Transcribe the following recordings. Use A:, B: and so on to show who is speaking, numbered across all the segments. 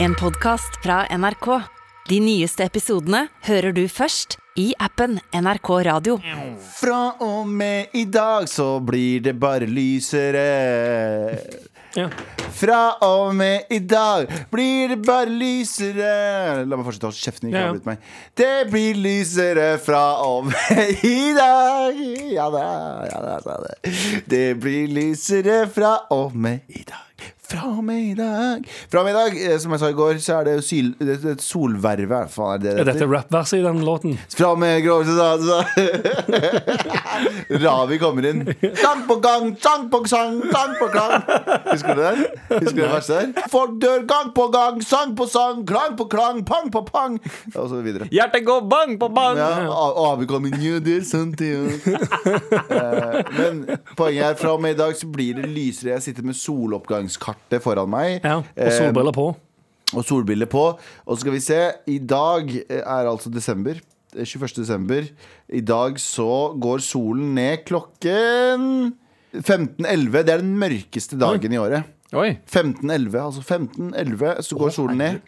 A: En podcast fra NRK. De nyeste episodene hører du først i appen NRK Radio.
B: Fra og med i dag så blir det bare lysere.
C: Ja.
B: Fra og med i dag blir det bare lysere. La meg fortsette å holde kjeften. Ikke
C: Ja, ja.
B: avbryt meg. Det blir lysere fra og med i dag. Ja da, ja da, ja da. Det blir lysere fra og med i dag. Fra og med i dag. Fra og med i dag, eh, som jeg sa i går, så er det jo syl, det, det, solvervet. Hva faen er det det
C: Er dette rappverset i den låten?
B: Fra og med grov til dansa. Ravi kommer inn. Gang på gang, sang på sang, sang på gang. Husker du den? Husker du det verste der? Folk dør gang på gang, sang på sang, klang på klang, pang på pang. Og så videre.
C: Hjertet går bang på bang!
B: Ja, A- Avi kom inn, «You did something». Eh, Men poenget er fra og med i dag så blir det lysere. Jeg sitter med soloppgangskartet foran meg.
C: Ja, og
B: Eh,
C: solbriller på.
B: og solbriller på. Og så skal vi se. I dag er altså desember. 21. desember. I dag så går solen ned klokken 15.11. Det er den mørkeste dagen i året.
C: Oi.
B: 15.11, altså 15.11 så går solen ned.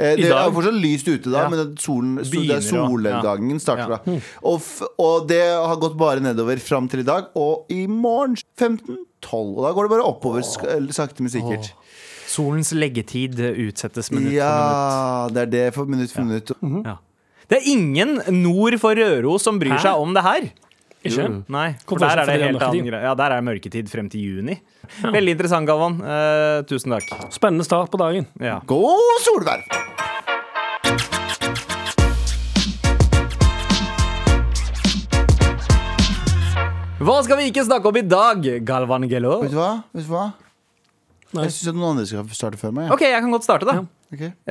B: Eh,
C: I
B: Det er
C: dag?
B: jo fortsatt lyst ute da,
C: Ja.
B: men at solen, så det er
D: Begynner å-
B: solnedgangen starter
D: Ja.
B: da. Og, f og det har gått bare nedover fram til i dag, og i morgen 15.12. Og da går det bare oppover, sk- eller sakte, men sikkert.
D: Solens leggetid utsettes minutt
B: Ja, det er det for minutt for minutt.
D: for minutt. Ja. Det er ingen nord for Røros som bryr
C: Hæ?
D: seg om det her.
C: Ikke?
D: Nei,
C: Hvorfor
D: for der
C: ikke?
D: er det
C: Fordi det er
D: helt annen
C: mørketid.
D: greie. Ja, der er mørketid frem til juni. Veldig interessant, Galvan. Eh, tusen takk.
C: Spennende start på dagen.
D: Ja.
B: God solverv!
D: Hva skal vi ikke snakke om i dag, Galvan Gelo?
B: Vet du hva? Vet du hva?
C: Nei.
B: Jeg syns noen andre skal starte før meg.
D: OK, jeg kan godt starte, da.
B: Ja. Ok.
D: Eh,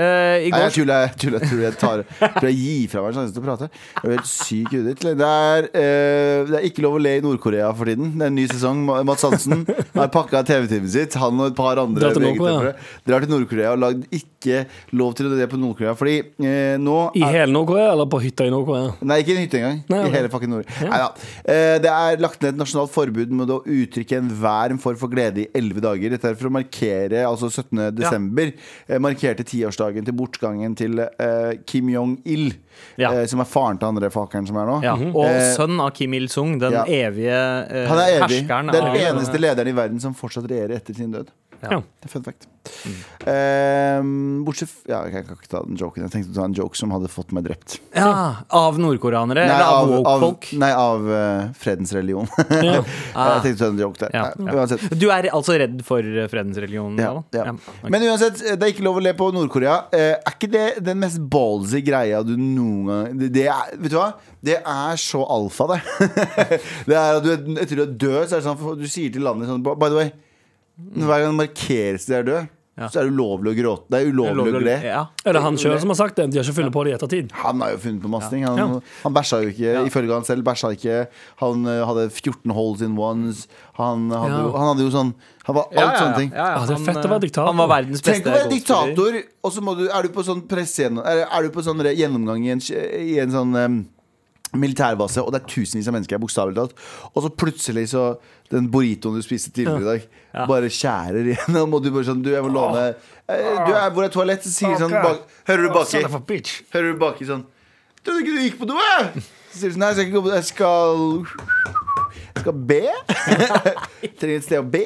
D: I
B: Nei, jeg
D: går
B: tuller. Jeg, tuller, jeg, tuller, jeg, tar, jeg tror jeg gir fra meg sjansen til å prate. Jeg er helt syk i hudet. ditt. Det er, eh, det er ikke lov å le i Nord-Korea for tiden. Det er en ny sesong. Ma- Mads Hansen har pakka TV-teamet sitt. Han og et par andre
C: Drar til Nord-Korea.
B: VG-tøffere drar til Nord-Korea og lagd ikke lov til å le på Nord-Korea. Fordi eh, nå
C: I hele Nord-Korea, eller på hytta i Nord-Korea?
B: Nei, ikke en hytte engang.
C: Nei,
B: I
C: ok.
B: hele fucking nord. Neida. Eh, Det er lagt ned et nasjonalt forbud mot å uttrykke enhver form for glede i elleve dager. Dette er for å markere altså 17. desember. eh, Markerte tiårsdagen til bortgangen til eh, Kim Jong-il.
D: Ja.
B: eh, Som er faren til andre fakeren som er nå.
D: ja. Og
B: Eh,
D: sønn av Kim Il-sung, den
B: ja.
D: evige eh,
B: Han er evig.
D: herskeren
B: Den
D: av
B: eneste lederen i verden som fortsatt regjerer etter sin død.
C: Ja.
B: Det er fun fact. Eh, bortsett f- ja, Jeg kan ikke ta den joken. Jeg tenkte å ta en joke som hadde fått meg drept.
D: ja, Av nordkoreanere?
B: Nei,
D: Eh, eller av,
B: av, av,
D: woke-folk?
B: nei, av eh, fredens religion.
C: Ja.
B: Jeg tenkte på den joke der.
D: Ja,
B: Nei,
D: ja.
B: Uansett.
D: Du er altså redd for eh, fredens religion?
B: Ja,
D: Galvan?
B: ja.
D: ok.
B: Men uansett, eh, det er ikke lov å le på Nord-Korea. Eh, Er ikke det den mest ballsy greia du noen gang det, det er, Vet du hva? Det er så alfa, det. det er at du, etter du er død, så er det sånn Du sier til landet sånn By the way, hver gang det markeres til du er død,
D: Ja.
B: så er det ulovlig å gråte. Det er ulovlig,
D: Lovlig å
B: å
D: le.
B: gle.
D: Ja.
C: Er det han sjøl som har sagt det? De har ikke funnet på det i ettertid?
B: Han har jo funnet på masse ting. Han, han bæsja jo ikke, ifølge han selv. bæsja ikke Han eh, hadde 14 holes in ones. Han hadde,
C: Ja.
B: jo, han hadde jo sånn Han var alt sånne ting.
C: Ah, det er fett å være
D: eh,
C: diktator.
D: Han var verdens beste
B: Tenk å være
D: golfspiller.
B: diktator, og så må du, er du på sånn pressegjennom- er, er du på sånn re- gjennomgang i en, i en sånn em, militærbase, og det er tusenvis av mennesker her, bokstavelig talt, og så plutselig så den burritoen du spiste tidligere i dag, bare skjærer igjennom, og du bare sånn Du, jeg må låne eh, Du, er, hvor er toalett? Så sier de sånn bak, Hører du baki? Hører du baki sånn Trodde ikke du gikk på do, jeg! Så sier du sånn Nei, jeg skal ikke gå på do. Jeg skal Jeg skal be. Trenger et sted å be.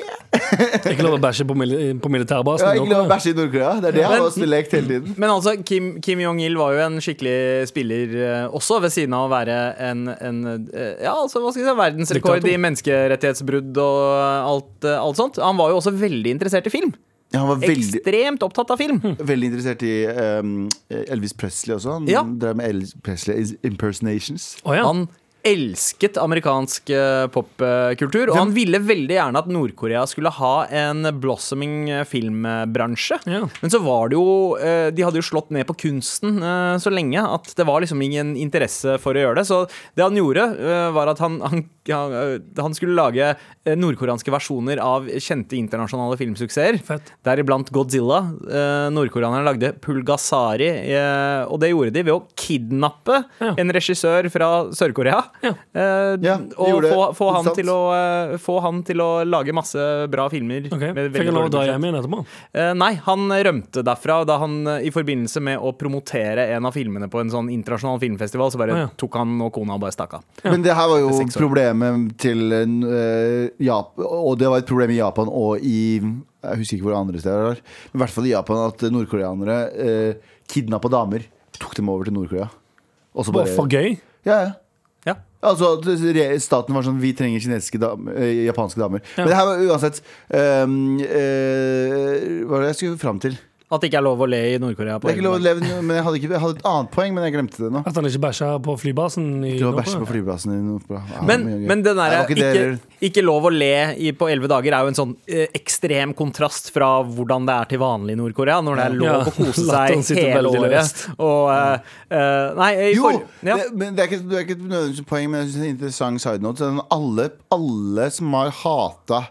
C: Ikke lov å bæsje på, mil på
B: Jeg
C: militærbasen?
B: har
C: i
B: ikke lov å
C: Nord-Korea.
B: bæsje i Nord-Korea. Det er det han har lekt hele tiden.
D: Men altså, Kim, Kim Jong-il var jo en skikkelig spiller eh, også, ved siden av å være en, en eh, Ja, altså, hva skal jeg si, verdensrekord
C: Diktator.
D: i menneskerettighetsbrudd og alt, eh, alt sånt. Han var jo også veldig interessert i film.
B: Ja, han var veldig,
D: Ekstremt opptatt av film.
B: veldig interessert i ehm, Elvis Presley også. Han
D: Ja.
B: drev med Elvis Presley is- impersonations.
C: Å ja.
D: Han elsket amerikansk eh, popkultur, og han ville veldig gjerne at Nord-Korea skulle ha en blossoming eh, filmbransje.
C: Ja.
D: Men så var det jo eh, De hadde jo slått ned på kunsten eh, så lenge at det var liksom ingen interesse for å gjøre det. Så det han gjorde, eh, var at han, han, han, eh, han skulle lage eh, nordkoreanske versjoner av kjente internasjonale filmsuksesser.
C: Fett.
D: Deriblant Godzilla. Eh, Nordkoreanerne lagde Pulgasari, eh, og det gjorde de ved å kidnappe
C: Ja.
D: en regissør fra Sør-Korea. Eh,
B: Ja, de
D: og
B: gjorde det.
D: få, få, han
B: Sant.
D: til å, eh, få han til å lage masse bra filmer.
C: Ok,
D: med veldig
C: Fikk jeg lov å
D: dårlig
C: dra
D: budsjett.
C: hjem igjen etterpå?
D: Eh, nei, han rømte derfra da han eh, i forbindelse med å promotere en av filmene på en sånn internasjonal filmfestival, så bare
C: Å, ja.
D: tok han og kona og bare stakk av.
B: Men det her var jo
D: Seks år.
B: problemet til eh, Jap Og det var et problem i Japan og i Jeg husker ikke hvor andre steder det var. Men i hvert fall i Japan at nordkoreanere uh, kidnappa damer. Tok dem over til Nord-Korea. Og så
C: Bare
B: bare
C: for gøy?
B: Ja, ja.
D: Ja.
B: Altså, at re- staten var sånn Vi trenger kinesiske damer, eh, japanske damer. Men det her var uansett ehm, eh, Hva var det jeg skulle fram til? Det
D: At det ikke er lov å le i Nord-Korea. på
B: er ikke lov å
D: egen hånd.
B: leve Men jeg hadde, ikke, jeg hadde et annet poeng, men jeg glemte det nå.
C: At han ikke bæsja på flybasen? I
B: Du har
C: Norge?
B: bæsje på flyplassen i Nord-Korea. Ja,
D: Men,
B: mye gøy.
D: men den
B: Nei,
D: derre
B: det var
D: ikke,
B: det, eller?
D: ikke, lov å le i, på elleve dager er jo en sånn eh, ekstrem kontrast fra hvordan det er til vanlig i Nord-Korea, når det er lov
C: Ja.
D: å kose
C: Latteren
D: seg
C: sitter
D: hele
C: veldig
D: året. Og eh, eh, Nei, i
B: Jo!
D: for- ja.
B: Det, men det er ikke, det er ikke nødvendigvis et poeng, men jeg synes det er en interessant side note. Sånn, alle, alle som har hata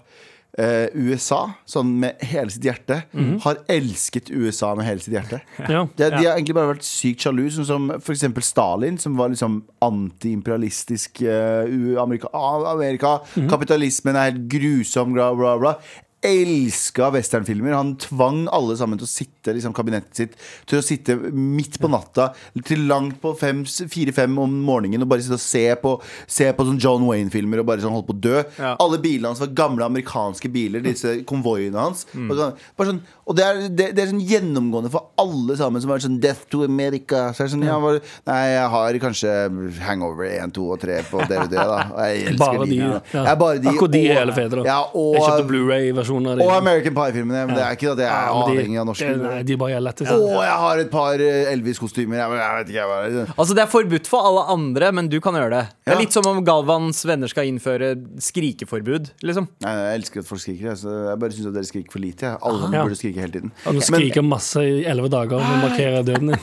B: eh, USA sånn med hele sitt hjerte, har elsket USA med hele sitt hjerte.
C: Mhm. Ja.
B: De, de har egentlig bare vært sykt sjalu, sånn som for eksempel Stalin, som var liksom antiimperialistisk eh, U- Amerika, ah, Amerika
C: Mhm.
B: kapitalismen er helt grusom, bla, bla, bla. Elska westernfilmer. Han tvang alle sammen til å sitte liksom, kabinettet sitt Til å sitte midt på natta til langt på fem- fire-fem om morgenen og bare sitte og se på, se på sånn John Wayne-filmer og bare sånn holdt på å dø.
D: Ja.
B: Alle bilene hans var gamle amerikanske biler, disse konvoiene hans.
C: Mm.
B: Og, sånn, bare sånn, og det, er, det, det er sånn gjennomgående for alle sammen som er sånn 'Death to America'. Så er det sånn, ja, bare, nei, jeg har kanskje Hangover 1, 2 og 3 på DVD, da. Og Jeg elsker
C: Bare de,
B: da.
C: ja.
B: Jeg er bare de.
C: Akkurat de
B: og-
C: er hele fedre.
B: Ja,
C: Jeg kjøpte
B: og,
C: Blu-ray-versjonen av de.
B: og American Pie-filmene. Men det er ikke at jeg er
C: Ja, men de-
B: avhengig av norske.
C: det- Nei, de bare er lette.
B: Å, jeg har et par eh, Elvis-kostymer. Jeg, jeg vet ikke, jeg bare
D: Altså Det er forbudt for alle andre, men du kan gjøre det. Det
B: Ja.
D: er Litt som om Galvans venner skal innføre skrikeforbud. liksom
B: Nei, jeg elsker at folk skriker. Jeg, så jeg bare syns dere skriker for lite. jeg. Alle
C: Ja.
B: burde skrike hele tiden.
C: Du skriker masse i elleve dager og markerer døden din.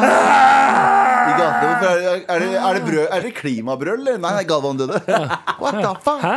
B: I gatene, hvorfor er det, er det, er det, brød, er det klimabrøl, eller? Nei, nei, Galvan døde. What the fuck?
C: Hæ?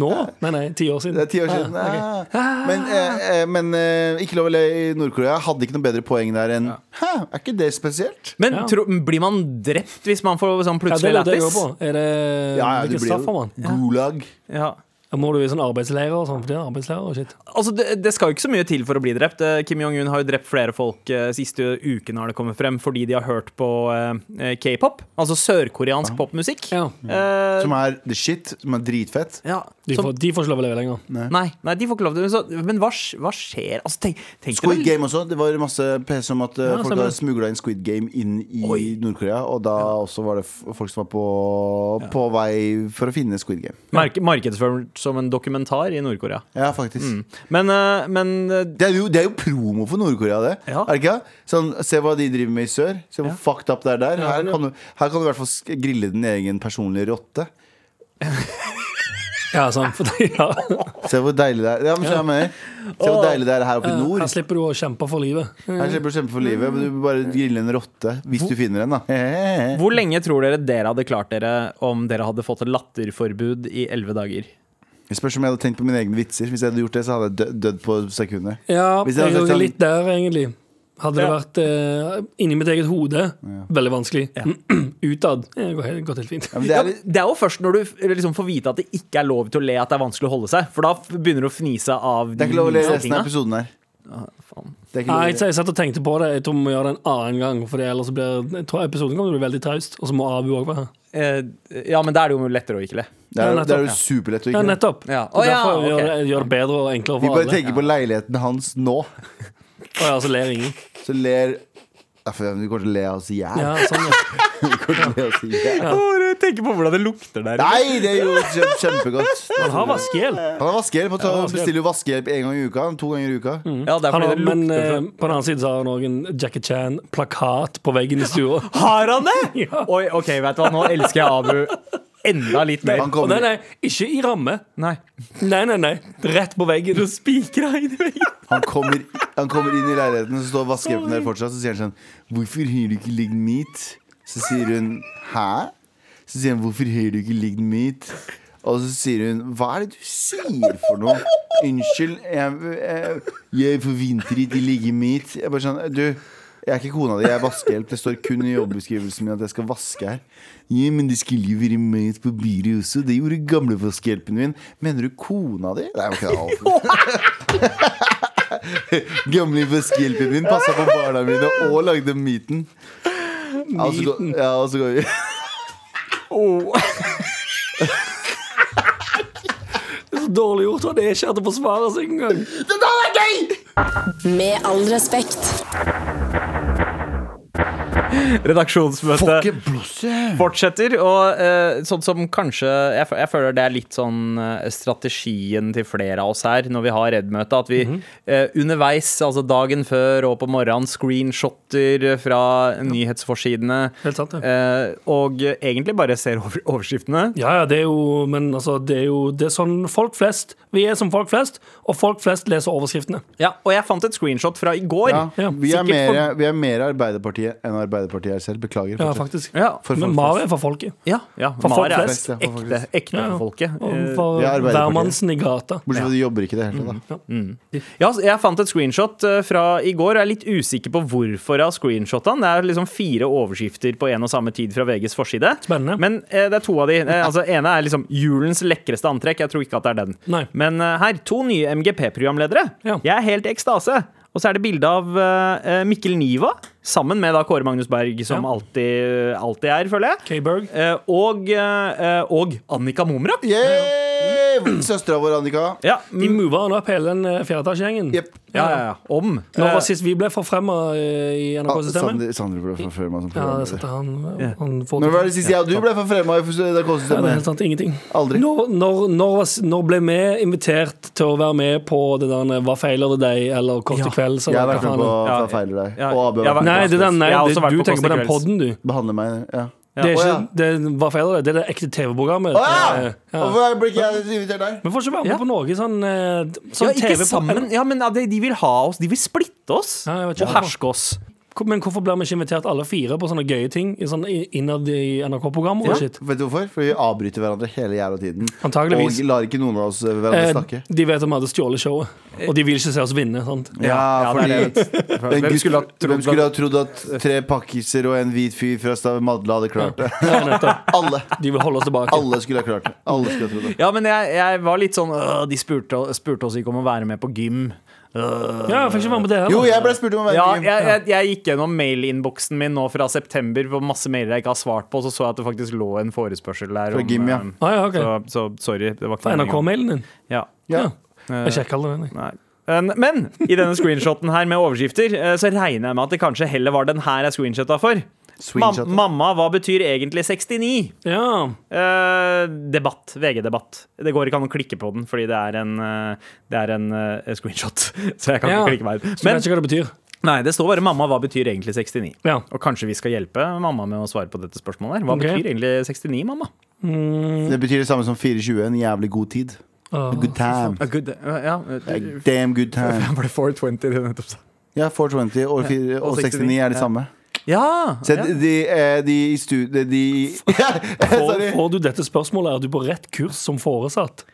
C: Nå? Nei, nei, ti år siden.
B: Det er ti år siden. Ah. Men, eh, eh, men eh, ikke lov å le i Nord-Korea. Hadde ikke noe bedre poeng der enn Hæ, er ikke det spesielt?
D: Men
C: Ja.
D: tro, blir man drept hvis man får
C: Ja,
D: sånn
C: det
D: plutselig
C: er det jeg
D: lættis?
C: går på. Er Eh, det
B: du
C: Hvilken
B: blir jo
C: straff får man?
B: gulag.
D: Ja.
C: Ja, Må du i sånn arbeidsleir og sånn? For de har arbeidsleir og shit.
D: Altså, det, det skal jo ikke så mye til for å bli drept. Eh, Kim Jong-un har jo drept flere folk eh, siste uken har det kommet frem, fordi de har hørt på eh, eh, k-pop. Altså sørkoreansk popmusikk.
C: Ja.
D: Eh,
B: Som er the shit, som er dritfett.
D: ja.
C: De
D: Som-
C: får, de får ikke lov å leve lenger.
D: nei, nei, de får ikke lov til det. Så- Men hva, sk- hva skjer? Altså, tenk, tenk
B: Squid
D: deg vel-
B: Game også. Det var masse pes om at eh,
C: Ja,
B: folk
C: stemmer.
B: hadde smugla inn Squid Game inn i Nord-Korea. Og da også var det f- folk som var på, på vei for å finne Squid Game.
D: Mark- Markedsført som en dokumentar i Nord-Korea.
B: Ja, faktisk.
C: Mm.
D: Men, eh, men eh,
B: Det er jo, det er jo promo for Nord-Korea, det.
D: Ja.
B: Er det ikke? det? Sånn, se hva de driver med i sør. Se hvor fucked up det er der. Her
C: det er
B: kan, du, her kan du i hvert fall sk- grille din egen personlige rotte.
C: Ja, sånn, for de, ja.
B: Se hvor deilig det er. Ja, men, skjønner jeg mener. Se hvor deilig det er her oppe i
C: Her
B: nord.
C: slipper du å kjempe for livet.
B: Her slipper du å kjempe for livet. Men du må bare grille en rotte. Hvis du finner en, da.
D: Hvor lenge tror dere dere hadde klart dere om dere hadde fått et latterforbud i elleve dager?
B: Jeg spørs om jeg hadde tenkt på mine egne vitser. Hvis jeg hadde gjort det, så hadde jeg dø- dødd på sekundet.
C: Ja,
B: Hvis det hadde
C: jeg er
B: sagt
C: jo
B: sånn-
C: litt der, egentlig. Hadde det
D: Ja.
C: vært eh, inni mitt eget hode, veldig vanskelig. Utad eh, går helt, går helt fint.
B: Ja, men
D: Det
B: det
D: er,
B: er,
D: det er jo først når du f- liksom får vite at det ikke er lov til å le at det er vanskelig å holde seg. For da f- begynner du å fnise av
B: det er ikke lov å le
D: minste
B: resten av
D: tinga.
B: episoden her.
D: Faen.
B: Det er ikke lov
C: Nei,
B: å
C: jeg,
B: le.
C: jeg satt og tenkte på det. Jeg tror vi må gjøre det en annen gang. For ellers så blir jeg tror episoden kommer til å bli veldig traust. Og så må Abu òg være her.
D: Eh, ja, men da er det jo lettere å ikke le.
B: Det er,
C: Ja,
B: det er jo
C: nettopp.
B: superlett å
C: Ja,
B: ikke le.
C: nettopp.
D: Ja.
C: Så
D: Å, ja,
C: derfor
D: ok.
C: gjør, det, gjør det bedre og enklere
B: Vi
C: for
B: bare
C: alle.
B: tenker på leiligheten hans nå,
C: Å ja, så ler ingen.
B: så ler Ja, for Vi kommer til å le oss i hjel.
C: Ja, sånn, ja.
B: Vi kommer til å le oss i hjel.
D: jeg tenker på hvordan det lukter der.
B: Nei, det er jo kjem- kjempegodt.
C: Han har vaskehjelp.
B: Han er vaskehjelp og tar-
C: vaskehjelp.
B: bestiller jo vaskehjelp en gang i uka. To ganger i uka.
D: Ja, det er
C: Han
D: fordi
C: har,
D: det
C: men
D: lukter sånn.
C: eh,
D: fra-
C: på den annen side så har han òg en Jackie Chan-plakat på veggen i stua.
D: Har han det?! Oi, OK, vet du hva, nå elsker jeg Abu enda litt mer.
B: Han
C: Og
B: kommer
C: nei, nei, ikke i ramme.
D: Nei.
C: Nei, nei, nei. Rett på veggen.
D: Du spikra inn i veggen.
B: Han kommer, han kommer inn i leiligheten, og så står vaskehjelpen der fortsatt. Så sier han sånn Hvorfor har du ikke ligget mitt? Så sier hun Hæ? Så sier han Hvorfor har du ikke ligget mitt? Og så sier hun Hva er det du sier for noe? eh, Unnskyld, jeg, jeg, jeg forventer ikke ligget mitt. Jeg bare sånn Du, Jeg er ikke kona di, jeg er vaskehjelp. Det står kun i jobbbeskrivelsen min at jeg skal vaske her. Ja, men det skulle jo være med på byret også. Det gjorde gamle vaskehjelpen min. Mener du kona di? Nei, ok, da. Gamle vaskehjelpen min passa på barna mine og lagde myten. Ja, og så går- Ja, og så går vi
C: Det er så dårlig gjort. Han er ikke her til å forsvare seg engang.
E: Med all respekt.
D: Redaksjonsmøte
B: Fucke blåse!
D: fortsetter, og eh, sånn som kanskje jeg, fø- jeg føler det er litt sånn eh, strategien til flere av oss her når vi har Redd-møte, at vi
C: Mhm.
D: eh, underveis, altså dagen før og på morgenen, screenshotter fra nyhetsforsidene.
C: Helt sant, det.
D: eh, og egentlig bare ser over overskriftene.
C: Ja, ja, det er jo Men altså, det er jo Det er sånn folk flest Vi er som folk flest, og folk flest leser overskriftene.
D: Ja, og jeg fant et screenshot fra i går.
B: Ja,
C: Ja,
B: vi, er
D: sikkert
B: mer, vi er mer Arbeiderpartiet enn Arbeiderpartiet er selv. Beklager.
C: Ja,
B: fortsett.
C: faktisk.
D: Ja,
B: For folk
C: men Mari er for folket.
D: ja, ja.
C: For folk
D: Mare er
C: flest.
B: Ja, for folk
D: Ekte,
B: flest.
D: ekte
C: Ja,
D: for folket.
C: Og
D: Eh,
C: for
B: Vi er Arbeiderpartiet.
C: hvermannsen i gata.
B: Bortsett fra at de jobber ikke i det hele
C: Mm.
B: tatt. da.
D: Mm. Ja, så jeg fant et screenshot eh, fra i går, og jeg er litt usikker på hvorfor jeg har screenshotta den. Det er liksom fire overskrifter på en og samme tid fra VGs forside.
C: Spennende.
D: Men eh, det er to av de. Eh, altså, ene er liksom 'Julens lekreste antrekk'. Jeg tror ikke at det er den.
C: Nei.
D: Men eh, her, to nye MGP-programledere.
C: Ja.
D: Jeg er helt i ekstase. Og så er det bilde av eh, Mikkel Niva sammen med da Kåre Magnus Berg, som
C: Ja.
D: alltid, eh, alltid er, føler jeg.
C: K-Berg.
D: Eh, og, eh, eh, og Annika Mumrak.
C: Mm.
B: Yeah! Søstera vår, Annika.
D: Ja,
C: De mover han opp hele den eh, fjerdeetasjegjengen.
B: Jepp.
D: ja, ja, ja. Om.
C: Når var
D: eh,
C: sist vi ble forfremma i
B: Ah,
C: NRK-systemet?
B: Sander, Sander ble forført meg som
C: Ja, det
B: programleder.
C: setter han, eh, han får
B: Når var det sist jeg og du ble forfremma i
C: Ja, det er helt
B: NRK-systemet?
C: sant. Ingenting.
B: Aldri.
C: Når, når, når, var- når ble vi invitert til å være med på det der eh, 'Hva feiler det deg?' eller 'Kåss til
D: Ja.
C: kvelds'?
B: Jeg
C: eller
B: har
C: hva
B: vært med på
C: faen det-
B: Fra
D: Ja.
B: feiler deg.
D: Ja.
B: Og AB
D: Jeg har vært-
C: Nei, det der, nei
D: Jeg har også
C: det,
D: vært
C: du
D: på
C: tenker på den
D: Kåss til
C: podden, du.
B: Behandle meg ja.
C: Det er
B: Å,
C: ikke,
B: ja.
C: det, hva feiler det? Det er det ekte
B: Å
C: TV-programmet.
B: ja!
C: Det er- ja.
B: Hvorfor ble ikke jeg invitert der?
C: Vi får ikke være med
D: Ja.
C: på noe sånn, eh, sånn
D: ja, ikke
C: TV på-
D: sammen. Ja, men ja, de, de vil ha oss. De vil splitte oss
C: Ja, jeg vet ikke
D: og
C: hvorfor.
D: herske oss.
C: Hvor- Men hvorfor blir vi ikke invitert alle fire på sånne gøye ting i sånn, i- innad i NRK-programmer? og shit?
B: Vet du hvorfor? Fordi vi avbryter hverandre hele jævla tiden.
C: Antageligvis.
B: Og lar ikke noen av oss eh, hverandre
C: Eh,
B: snakke.
C: de vet at vi hadde stjålet showet, og de vil ikke se oss vinne. Sant?
B: Ja,
D: det er
B: fordi
D: det.
B: en
D: Hvem
B: gutt-
D: skulle ha trodd
B: Hvem skulle ha trodd at tre pakkiser og en hvit fyr fra Stavamadla hadde klart det? Alle.
C: De vil holde oss tilbake.
B: Alle skulle ha klart det. Alle skulle ha trodd det.
D: Ja, men jeg, jeg var litt sånn øh, De spurte, spurte oss ikke om å være med på gym. Øh.
C: Ja, jeg fikk ikke være med på det heller.
B: Jo, jeg ble spurt om å være
D: Ja,
B: med.
D: jeg, jeg, jeg gikk gjennom mailinnboksen min nå fra september på masse mailer jeg ikke har svart på, så så jeg at det faktisk lå en forespørsel der.
B: Fra gym, ja.
D: øh,
C: Ah, ja, ok.
D: så, så sorry. Det var
C: På
D: ikke meningen.
C: NRK-mailen din.
D: Ja. Eh,
C: Ja.
B: Ja.
C: Jeg sjekker aldri den. jeg.
D: Nei. En- Men i denne screenshoten her med overskrifter, eh, så regner jeg med at det kanskje heller var den her jeg screenshotta for. Ma
B: Screenshot.
D: mamma, hva betyr egentlig 69?
C: Ja.
D: Eh, debatt. VG-debatt. Det går ikke an å klikke på den, fordi det er en, eh, det er en eh, screenshot. Så jeg kan
C: Ja.
D: ikke klikke meg ut.
C: Så jeg vet
D: Men
C: ikke hva det betyr.
D: nei, det står bare 'mamma, hva betyr egentlig 69'?
C: Ja.
D: Og kanskje vi skal hjelpe mamma med å svare på dette spørsmålet her. Hva
C: Ok.
D: betyr egentlig 69, mamma?
B: Det betyr det samme som 420. En jævlig god tid.
C: Mm. Ah.
B: A good time.
D: A good, ja,
B: A damn good time.
D: ble 420 det nettopp sa.
B: Ja, 420 og, fire- og 69 er det samme.
D: Ja!
B: Se, de, eh, de i studio De
C: Får,
B: Sorry.
C: får du dette spørsmålet, er du på rett kurs som foresatt?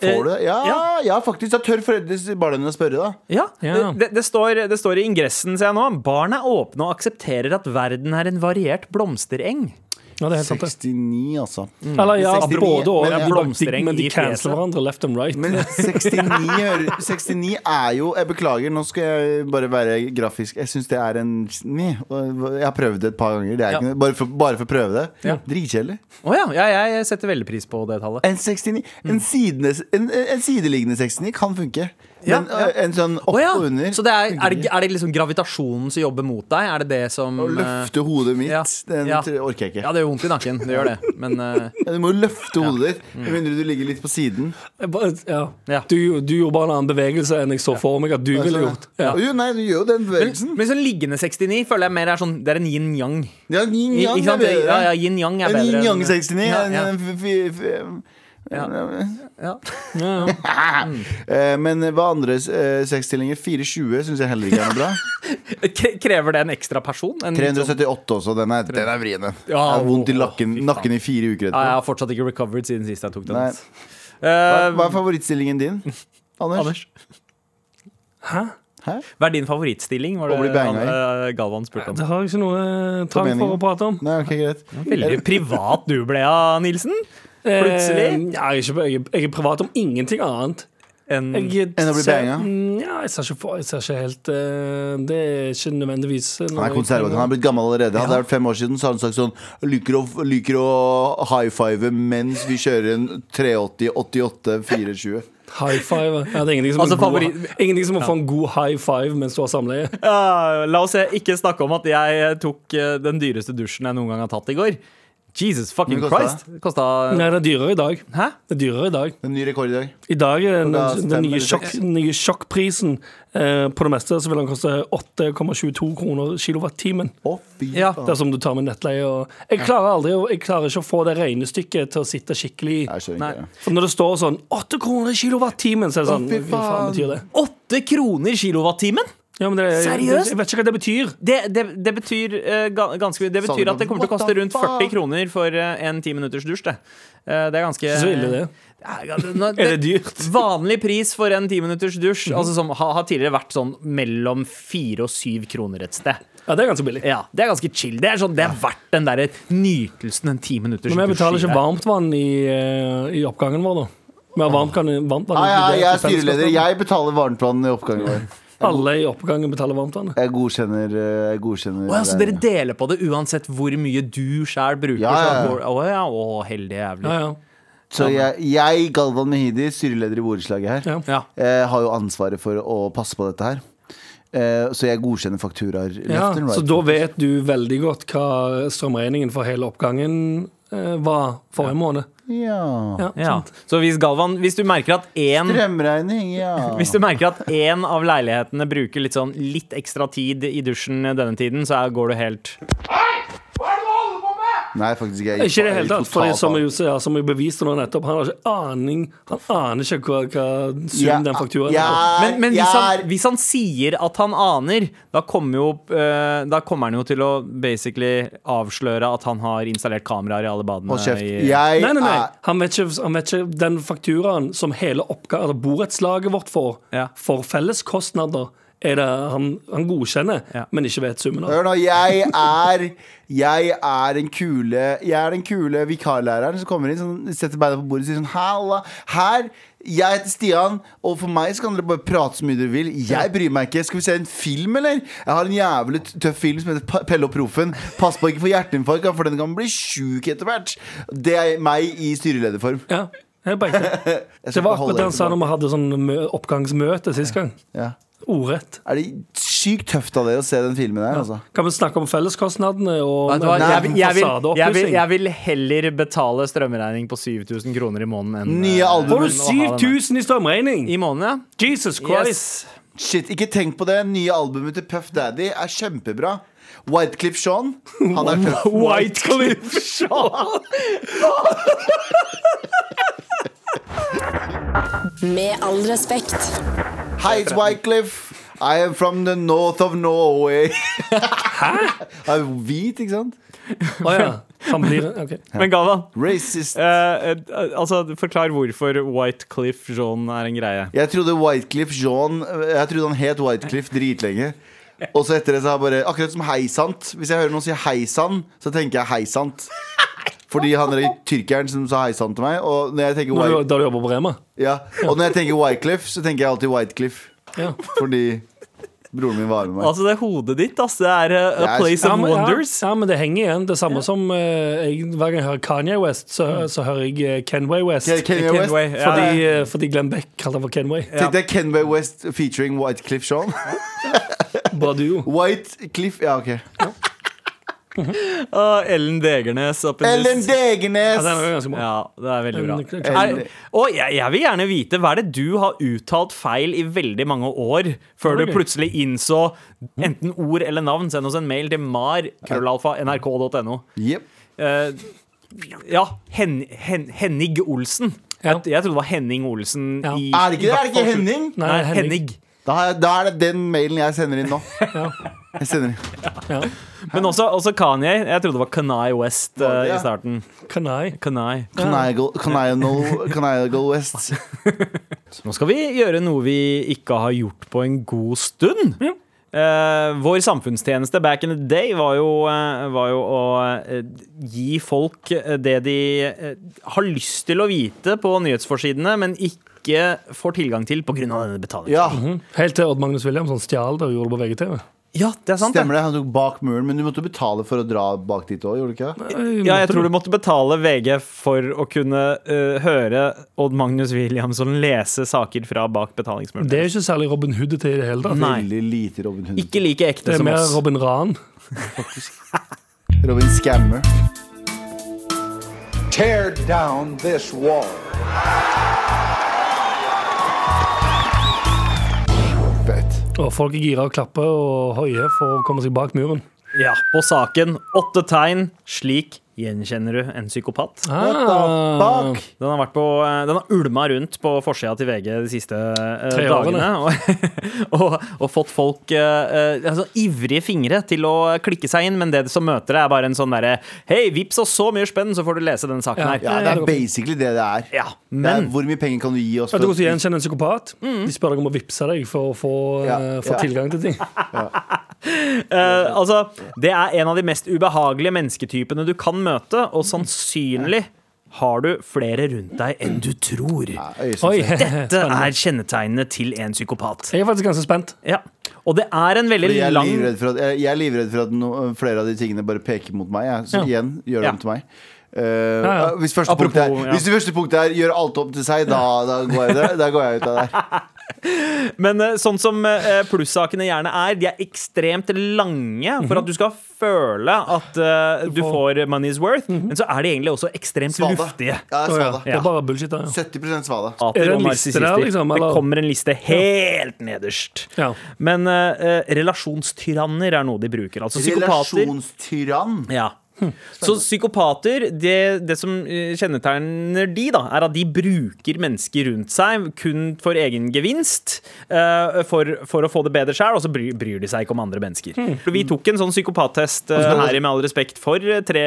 B: Får du det?
D: Eh, Ja.
B: Ja, ja faktisk. Da tør foreldre barna dine å spørre, da.
D: Ja,
C: Ja.
D: Det, det, det, står, det står i ingressen, ser jeg nå. Barn er åpne og aksepterer at verden er en variert blomstereng.
C: Ja, det er helt sant. det.
B: 69, altså.
D: Mm.
C: Eller ja,
B: 69,
C: både og.
B: men-
C: De bare- de-
D: blomstereng
C: Men de
D: i
C: canceler
D: fjeset.
C: hverandre left and right.
B: Men 69, hører- 69 er jo Jeg beklager, nå skal jeg bare være grafisk. Jeg syns det er en Nei, og Jeg har prøvd det et par ganger. Det er
D: Ja.
B: ikke, noe- bare, for, bare for å prøve det.
D: Ja.
B: Dritkjedelig.
D: Å ja, ja, jeg setter veldig pris på det tallet.
B: En 69 en,
D: Mm.
B: sidene- en, en sideliggende 69 kan funke.
D: Ja,
B: Men
D: ja.
B: ø, en sånn opp
D: Å ja.
B: og under
D: Så det er, er, det, er det liksom gravitasjonen som jobber mot deg? Er det det som
B: Å løfte hodet mitt,
D: sånn, eh, ja,
B: den
D: ja.
B: tr- orker jeg
D: eh,
B: ikke.
D: Ja, det gjør vondt i nakken. Det gjør det. Men eh,
B: Ja, du må jo løfte hodet ditt, med mindre du ligger litt på siden.
C: Jeg bare- Ja.
D: Ja.
C: Du, du gjorde bare en annen bevegelse enn jeg så for meg at du ville gjort. Ja.
B: Altså, Jo, nei, du gjør jo den
D: men,
B: bevegelsen.
D: men sånn liggende 69 føler jeg mer er sånn Det er en yin-yang.
B: Ja, yin
D: I-
B: yang er
D: ikke sant?
B: bedre.
D: Ja, ja, yin-yang
B: En
D: er bedre.
B: yin
D: enn-
B: yang 69.
D: Ja,
B: en-
D: ja,
B: en f- f- f-
D: Ja. ja.
C: Ja, ja.
B: Eh, Men hva andre eh, sexstillinger? 420 syns jeg heller ikke er noe bra.
D: Kre- Krever det en ekstra person? En,
B: 378 også. Den er, den er vrien, den. Jeg
D: Ja,
B: har vondt i
D: å,
B: lakken,
D: fy faen.
B: nakken i fire uker
D: Ja, jeg
B: etterpå.
D: har fortsatt ikke recovered siden sist jeg tok den.
B: Nei.
D: Eh,
B: Hva er favorittstillingen din, Anders?
D: Anders.
C: Hæ?
B: Hæ?
D: Hva er din favorittstilling? Var
B: Å bli
D: det
B: banga i.
D: han, eh, Galvan spurte om.
C: Det har jeg ikke noe eh, trang
B: meningen.
C: for å prate om.
B: Nei, ok, greit.
D: Veldig privat du ble av, Nilsen. Plutselig?
C: Eh, ja, jeg, er ikke, jeg, er- jeg er privat om ingenting annet.
D: En,
C: Jeg, eh,
B: Enn å bli
C: ser-
B: banga?
C: Mm, Ja, jeg ser ikke, for, jeg ser ikke helt eh, Det er ikke nødvendigvis eh,
B: Han er konservativ. Han er blitt gammel allerede. Hadde det vært fem år siden, så hadde han sagt sånn Liker å, liker å high five mens vi kjører en 380-88-420.
C: High five. Ja, det er ingenting som,
D: Altså,
C: en god,
D: favoritt-
C: ingenting som å få en god high five mens du har samleie.
D: Ja, la oss ikke snakke om at jeg tok eh, den dyreste dusjen jeg noen gang har tatt i går. Jesus fucking
B: Hvor mye kostet
D: Christ. Det Kosta
C: Nei, det er dyrere i dag.
D: Hæ?
C: Det er dyrere i dag.
B: En ny rekord i dag.
C: I dag er den,
B: da
C: den,
B: stemmer
C: nye,
B: det
C: sjokk,
B: seks.
C: den nye sjokkprisen eh, på det meste så vil den koste 8,22 kroner kilowattimen.
B: Å, fy
D: Ja,
B: faen.
C: Dersom du tar med nettleie og Jeg klarer aldri å- Jeg klarer ikke å få det regnestykket til å sitte skikkelig i.
B: Jeg skjønner
D: Nei.
B: ikke. det.
C: For når det står sånn 8 kroner kilowattimen, så er det sånn
B: fy
C: Hva faen
B: faen.
C: betyr det?
D: Åtte kroner kilowattimen?
C: Ja, men det,
D: Seriøst?
C: Jeg vet ikke hva det betyr.
D: Det, det, det betyr eh, ga- ganske mye. Det
B: Sa du
D: betyr at det kommer til å
B: what
D: koste
B: the
D: rundt
B: fuck?
D: 40 kroner for eh, en ti minutters dusj. Det, Eh, det er ganske
C: Så ille det.
D: Ja, ja, det- nå-
C: Er det dyrt?
D: Vanlig pris for en minutters dusj
C: Mhm.
D: altså som har, har tidligere vært sånn mellom fire og syv kroner et sted.
C: Ja, det er ganske billig.
D: Ja, Det er ganske chill. Det er, sånn, det er verdt den der nytelsen en ti minutters
C: Men vi betaler
D: dusj
C: ikke
D: gir deg.
C: varmt vann i, eh, i oppgangen vår, da. Vi har varmt, kan, varmt vann.
B: Hei, hei, jeg er
C: i fellesskapet.
B: styreleder. Jeg betaler varmtplanen i oppgangen vår.
C: Alle i oppgangen betaler varmtvannet.
B: Jeg godkjenner, eh, jeg godkjenner
D: Å ja, så dere
B: regningen.
D: deler på det uansett hvor mye du sjæl bruker?
B: Ja, ja, ja.
D: sånn at- Å ja, å, heldig jævlig.
C: Ja, ja.
B: Så jeg, jeg Galvan Mehidi, styreleder i borettslaget her,
C: Ja.
D: Ja.
B: eh, har jo ansvaret for å passe på dette her. Eh, så jeg godkjenner fakturaer.
C: Ja,
B: left and right.
C: så da vet du veldig godt hva strømregningen for hele oppgangen eh, var forrige måned.
B: ja.
C: Ja,
D: Ja.
C: sant?
D: Så hvis Galvan, hvis du merker at én
B: Strømregning, ja.
D: hvis du merker at én av leilighetene bruker litt, sånn, litt ekstra tid i dusjen denne tiden, så er, går du helt
B: Nei, faktisk ikke.
C: Ikke i det
B: Jeg
C: hele
B: gikk
C: tatt, for
B: totalt
C: som
B: av.
C: jeg, ja, som jeg beviste nå nettopp, han har ikke aning Han aner ikke hva, hva sum
B: Ja,
C: den fakturaen
B: ja.
C: er.
B: Nei,
D: Men, men hvis,
B: jeg
D: han,
B: er-
D: hvis han sier at han aner, da kommer, jo, eh, da kommer han jo til å basically avsløre at han har installert kameraer i alle badene.
B: Hold kjeft.
D: i-
B: Jeg
C: Nei, nei, nei.
B: er
C: Han vet ikke, han vet ikke den fakturaen som hele oppga- eller borettslaget vårt får
D: Ja.
C: for felleskostnader, er det han, han godkjenner,
D: Ja.
C: men ikke vet summen av.
B: Hør nå, jeg er Jeg er den kule Jeg er den kule vikarlæreren som kommer inn sånn, Setter beina på bordet og sier sånn Halla, her, jeg heter Stian Og for meg så kan dere bare prate så mye dere vil Jeg bryr meg ikke, skal vi se en film eller? Jeg har en jævlig tøff film som heter Pa- Pelle og Proffen Pass på ikke for hjerteinfarkt For den kan bli syk etter hvert Det er meg i styrelederform
C: Ja, helt på ekte.
B: Jeg skal ikke
C: Det var
B: holde
C: akkurat det
B: dere
C: han sa
B: tilbake.
C: når vi hadde sånn mø- oppgangsmøte sist gang.
B: ja.
C: Ordrett.
B: Er det sykt tøft av dere å se den filmen her altså?
C: Kan vi snakke om felleskostnadene og
D: Vet du hva, jeg, vil- jeg, vil, jeg, vil,
C: fasadeoppussing?
D: jeg vil heller betale strømregning på 7000 kroner i måneden enn
B: Nye album.
C: Får du
D: enn å ha den.
C: 7000 i strømregning?
D: i måneden,
C: Jesus
D: ja?
C: Christ!
D: Yes.
B: Shit, ikke tenk på det. Nye albumet til Puff Daddy er kjempebra. Whitecliff Sean. Han er tøff.
C: Whitecliff Shaw!
E: Med all respekt.
B: Hi, it's Whitecliff. I am from the north of Norway. Hæ? Er hvit, ikke sant?
C: Å ja. Han blir ok.
D: Men Galvan,
B: Racist.
D: eh, eh, altså, forklar hvorfor White Cliff John er en greie.
B: Jeg trodde Whitecliff Jean Jeg trodde han het Whitecliff dritlenge. Og så etter det så har jeg bare Akkurat som Heisant. Hvis jeg hører noen si Heisan, så tenker jeg Heisant. Fordi han er tyrkeren som sa Heisan til meg. Og når jeg tenker,
C: Når du,
B: White,
C: da du jobber på Rema?
B: ja. og når jeg tenker Whitecliff, så tenker jeg alltid Whitecliff.
C: Ja.
B: Fordi broren min var med meg.
D: Altså, det er hodet ditt, ass. Det er eh,
B: Jeg
D: a
B: er-
D: place
C: Ja,
D: of
C: men, ja,
D: wonders.
C: ja, men det henger igjen. Det samme som eh, jeg, hver gang jeg hører Kanye West, så,
D: Mm.
C: så hører jeg eh, Kenway West.
B: Ken- Kanye West.
D: Kenway, ja.
C: Fordi, eh, fordi Glenn Beck kalte han for Kenway.
B: Tenkte jeg Kenway West featuring White Cliff Sean.
C: Bra duo.
B: White Cliff, ja, ok.
D: Ah, Ellen Degernes. up in this-
B: Ellen
C: Ja,
B: Degernes!
D: Altså,
C: den er ganske bra.
D: Ja, det er veldig
C: Ellen
D: bra.
C: Degernes.
D: Er, og jeg, jeg vil gjerne vite hva er det du har uttalt feil i veldig mange år, før du
C: Ok.
D: plutselig innså
C: Mm.
D: enten ord eller navn. Send oss en mail til mar.nrk.no.
B: Jep.
D: Eh, ja, Hen, Hen, Henning Olsen.
C: Ja.
D: Jeg, jeg trodde det var Henning Olsen
C: Ja.
D: i
B: Er det ikke det? Er det ikke Henning?
C: Nei,
D: Nei,
C: Henning.
D: Henning.
B: Da, har jeg, da er det den mailen jeg sender inn nå. Jeg sender inn.
C: Ja.
D: Men også, også Kanye. Jeg trodde det var Kanai West eh,
B: Var det, ja?
D: i starten.
C: Kanai.
D: Kanai.
B: Conigal West. godt.
D: Nå skal vi gjøre noe vi ikke har gjort på en god stund. Eh, vår samfunnstjeneste back in the day var jo, eh, var jo å eh, gi folk eh, det de eh, har lyst til å vite på nyhetsforsidene, men ikke får tilgang til pga. denne betalingen.
B: Ja,
C: Mhm. Helt til Odd Magnus Williamson stjal det og gjorde det på VGTV.
D: Ja, det er sant. det.
B: stemmer det. Han tok bak muren, men du måtte betale for å dra bak dit òg, gjorde du ikke? det?
D: Ja, jeg tror du måtte betale VG for å kunne eh, høre Odd Magnus Williamson lese saker fra bak betalingsmuren.
C: Det er ikke særlig Robin Hood til i det hele tatt.
D: Nei.
B: Veldig lite Robin Hood.
D: Ikke like ekte
C: Det er
D: som
C: mer
D: oss.
C: Robin Ran.
B: Robin Scammer.
F: Tear down this wall.
B: Fett.
C: Og folk er gira og klapper og høye for å komme seg bak muren.
D: Ja, på saken. Åtte tegn. Slik gjenkjenner du en psykopat.
B: What the fuck?
D: Den har, vært på, eh, den har ulma rundt på forsida til VG de siste eh,
C: Tre årene.
D: dagene. Og, og, og fått folk eh, eh, altså, ivrige fingre til å klikke seg inn, men det som møter deg, er bare en sånn derre Hei, vips oss så mye spenn, så får du lese den saken
C: Ja.
D: her.
B: Ja, det er basically det det er.
D: Ja,
B: Det er
D: men
B: hvor mye penger kan du gi oss?
C: At du
B: for-
C: også gjenkjenner en psykopat. De spør deg om å vippse deg for å få,
B: Mm. Ja,
C: eh, få
B: ja.
C: tilgang til ting.
D: Eh, altså, det er en av de mest ubehagelige mennesketypene du kan møte, og sannsynlig har du flere rundt deg enn du tror.
C: Oi,
B: Øyesyn-
D: Dette er kjennetegnet til en psykopat.
C: Jeg er faktisk ganske spent.
D: Ja. Og det er en veldig
B: Fordi Jeg er,
D: lang
B: livredd for at, jeg jeg er livredd for at no, flere av de tingene bare peker mot meg. Jeg. Så igjen, gjør
D: Ja.
B: dem til meg. Eh,
C: ja.
B: Hvis, første
D: Apropos,
B: punktet er,
D: ja.
B: hvis det første punktet er 'gjør alt om til seg', da, da, går, jeg, der- da går jeg ut av der.
D: Men eh, sånn som eh, plussakene gjerne er, de er ekstremt lange
B: Mhm.
D: for at du skal føle at eh, du får money's worth, men så er de egentlig også ekstremt
B: Mhm. Svada.
D: luftige.
B: Ja,
C: Å, ja.
B: svada.
C: Det er bare bullshit. da, Ja.
B: 70 svada.
D: Aper
C: Er det en liste
D: og
C: der,
D: narsissister.
C: liksom,
D: Det
C: eller?
D: kommer en liste helt nederst.
C: Ja.
D: Men eh, eh, relasjonstyranner er noe de bruker. Altså psykopater.
B: Relasjonstyrann.
C: Hmm.
D: Ja. Så psykopater, det, det som eh, kjennetegner de, da, er at de bruker mennesker rundt seg kun for egen gevinst, eh, for, for å få det bedre sjøl, og så bryr, bryr de seg ikke om andre mennesker.
C: Hmm.
D: Vi tok en sånn psykopattest eh, her i Med all respekt for eh, tre,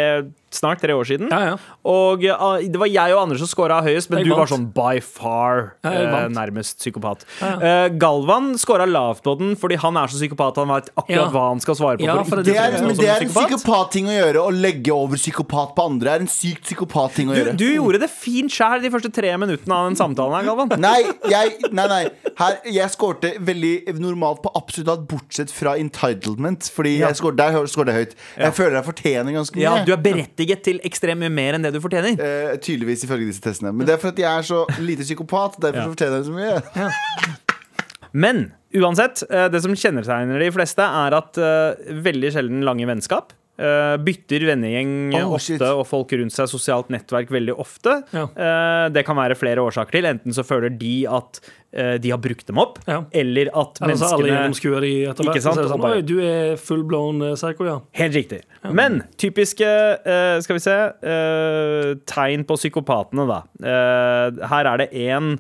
D: snart tre år siden.
C: Altså, Ja, ja.
D: Og eh, det var jeg og Anders som scora høyest, men
C: Jeg
D: du var
C: vant.
D: sånn by far
C: Ja, jeg
D: eh,
C: vant.
D: nærmest psykopat.
C: Ja,
D: Eh, Galvan scora lavt på den fordi han er så psykopat, han vet akkurat
C: Ja.
D: hva han skal svare på.
C: Ja,
D: for
C: for
D: ikke
B: Det er,
D: å fremstå
B: men
D: som
B: det er en
D: psykopat.
B: psykopatting å gjøre. Å legge over psykopat på andre er en sykt psykopatting å
D: Du,
B: gjøre.
D: du gjorde det fint sjæl de første tre minuttene av den samtalen her, Galvan.
B: Nei, jeg, nei, nei. Her, jeg skårte veldig normalt på absolutt alt, bortsett fra entitlement. Fordi jeg skårte, der skårte jeg høyt. Jeg føler jeg fortjener ganske mye.
D: Ja, du er berettiget til ekstremt mye mer enn det du fortjener.
B: Eh, tydeligvis ifølge disse testene. Men det er for at jeg er så lite psykopat. Derfor
D: Ja.
B: så fortjener jeg så mye.
D: Men uansett, eh, det som kjennetegner de fleste, er at eh, veldig sjelden lange vennskap. eh, bytter vennegjeng
B: Oh,
D: ofte
B: shit.
D: og folk rundt seg, sosialt nettverk veldig ofte.
C: Ja.
D: Eh, det kan være flere årsaker til. Enten så føler de at eh, de har brukt dem opp,
C: Ja.
D: eller at
C: Altså, alle
D: menneskene
C: gjennomskuer de etter hvert.
D: Ikke sant?
C: Så er det
D: Og
C: sånn,
D: bare-
C: Oi, du er full blown eh, psycho, ja.
D: Helt riktig. Men typiske eh, Skal vi se eh, tegn på psykopatene, da. Eh, her er det én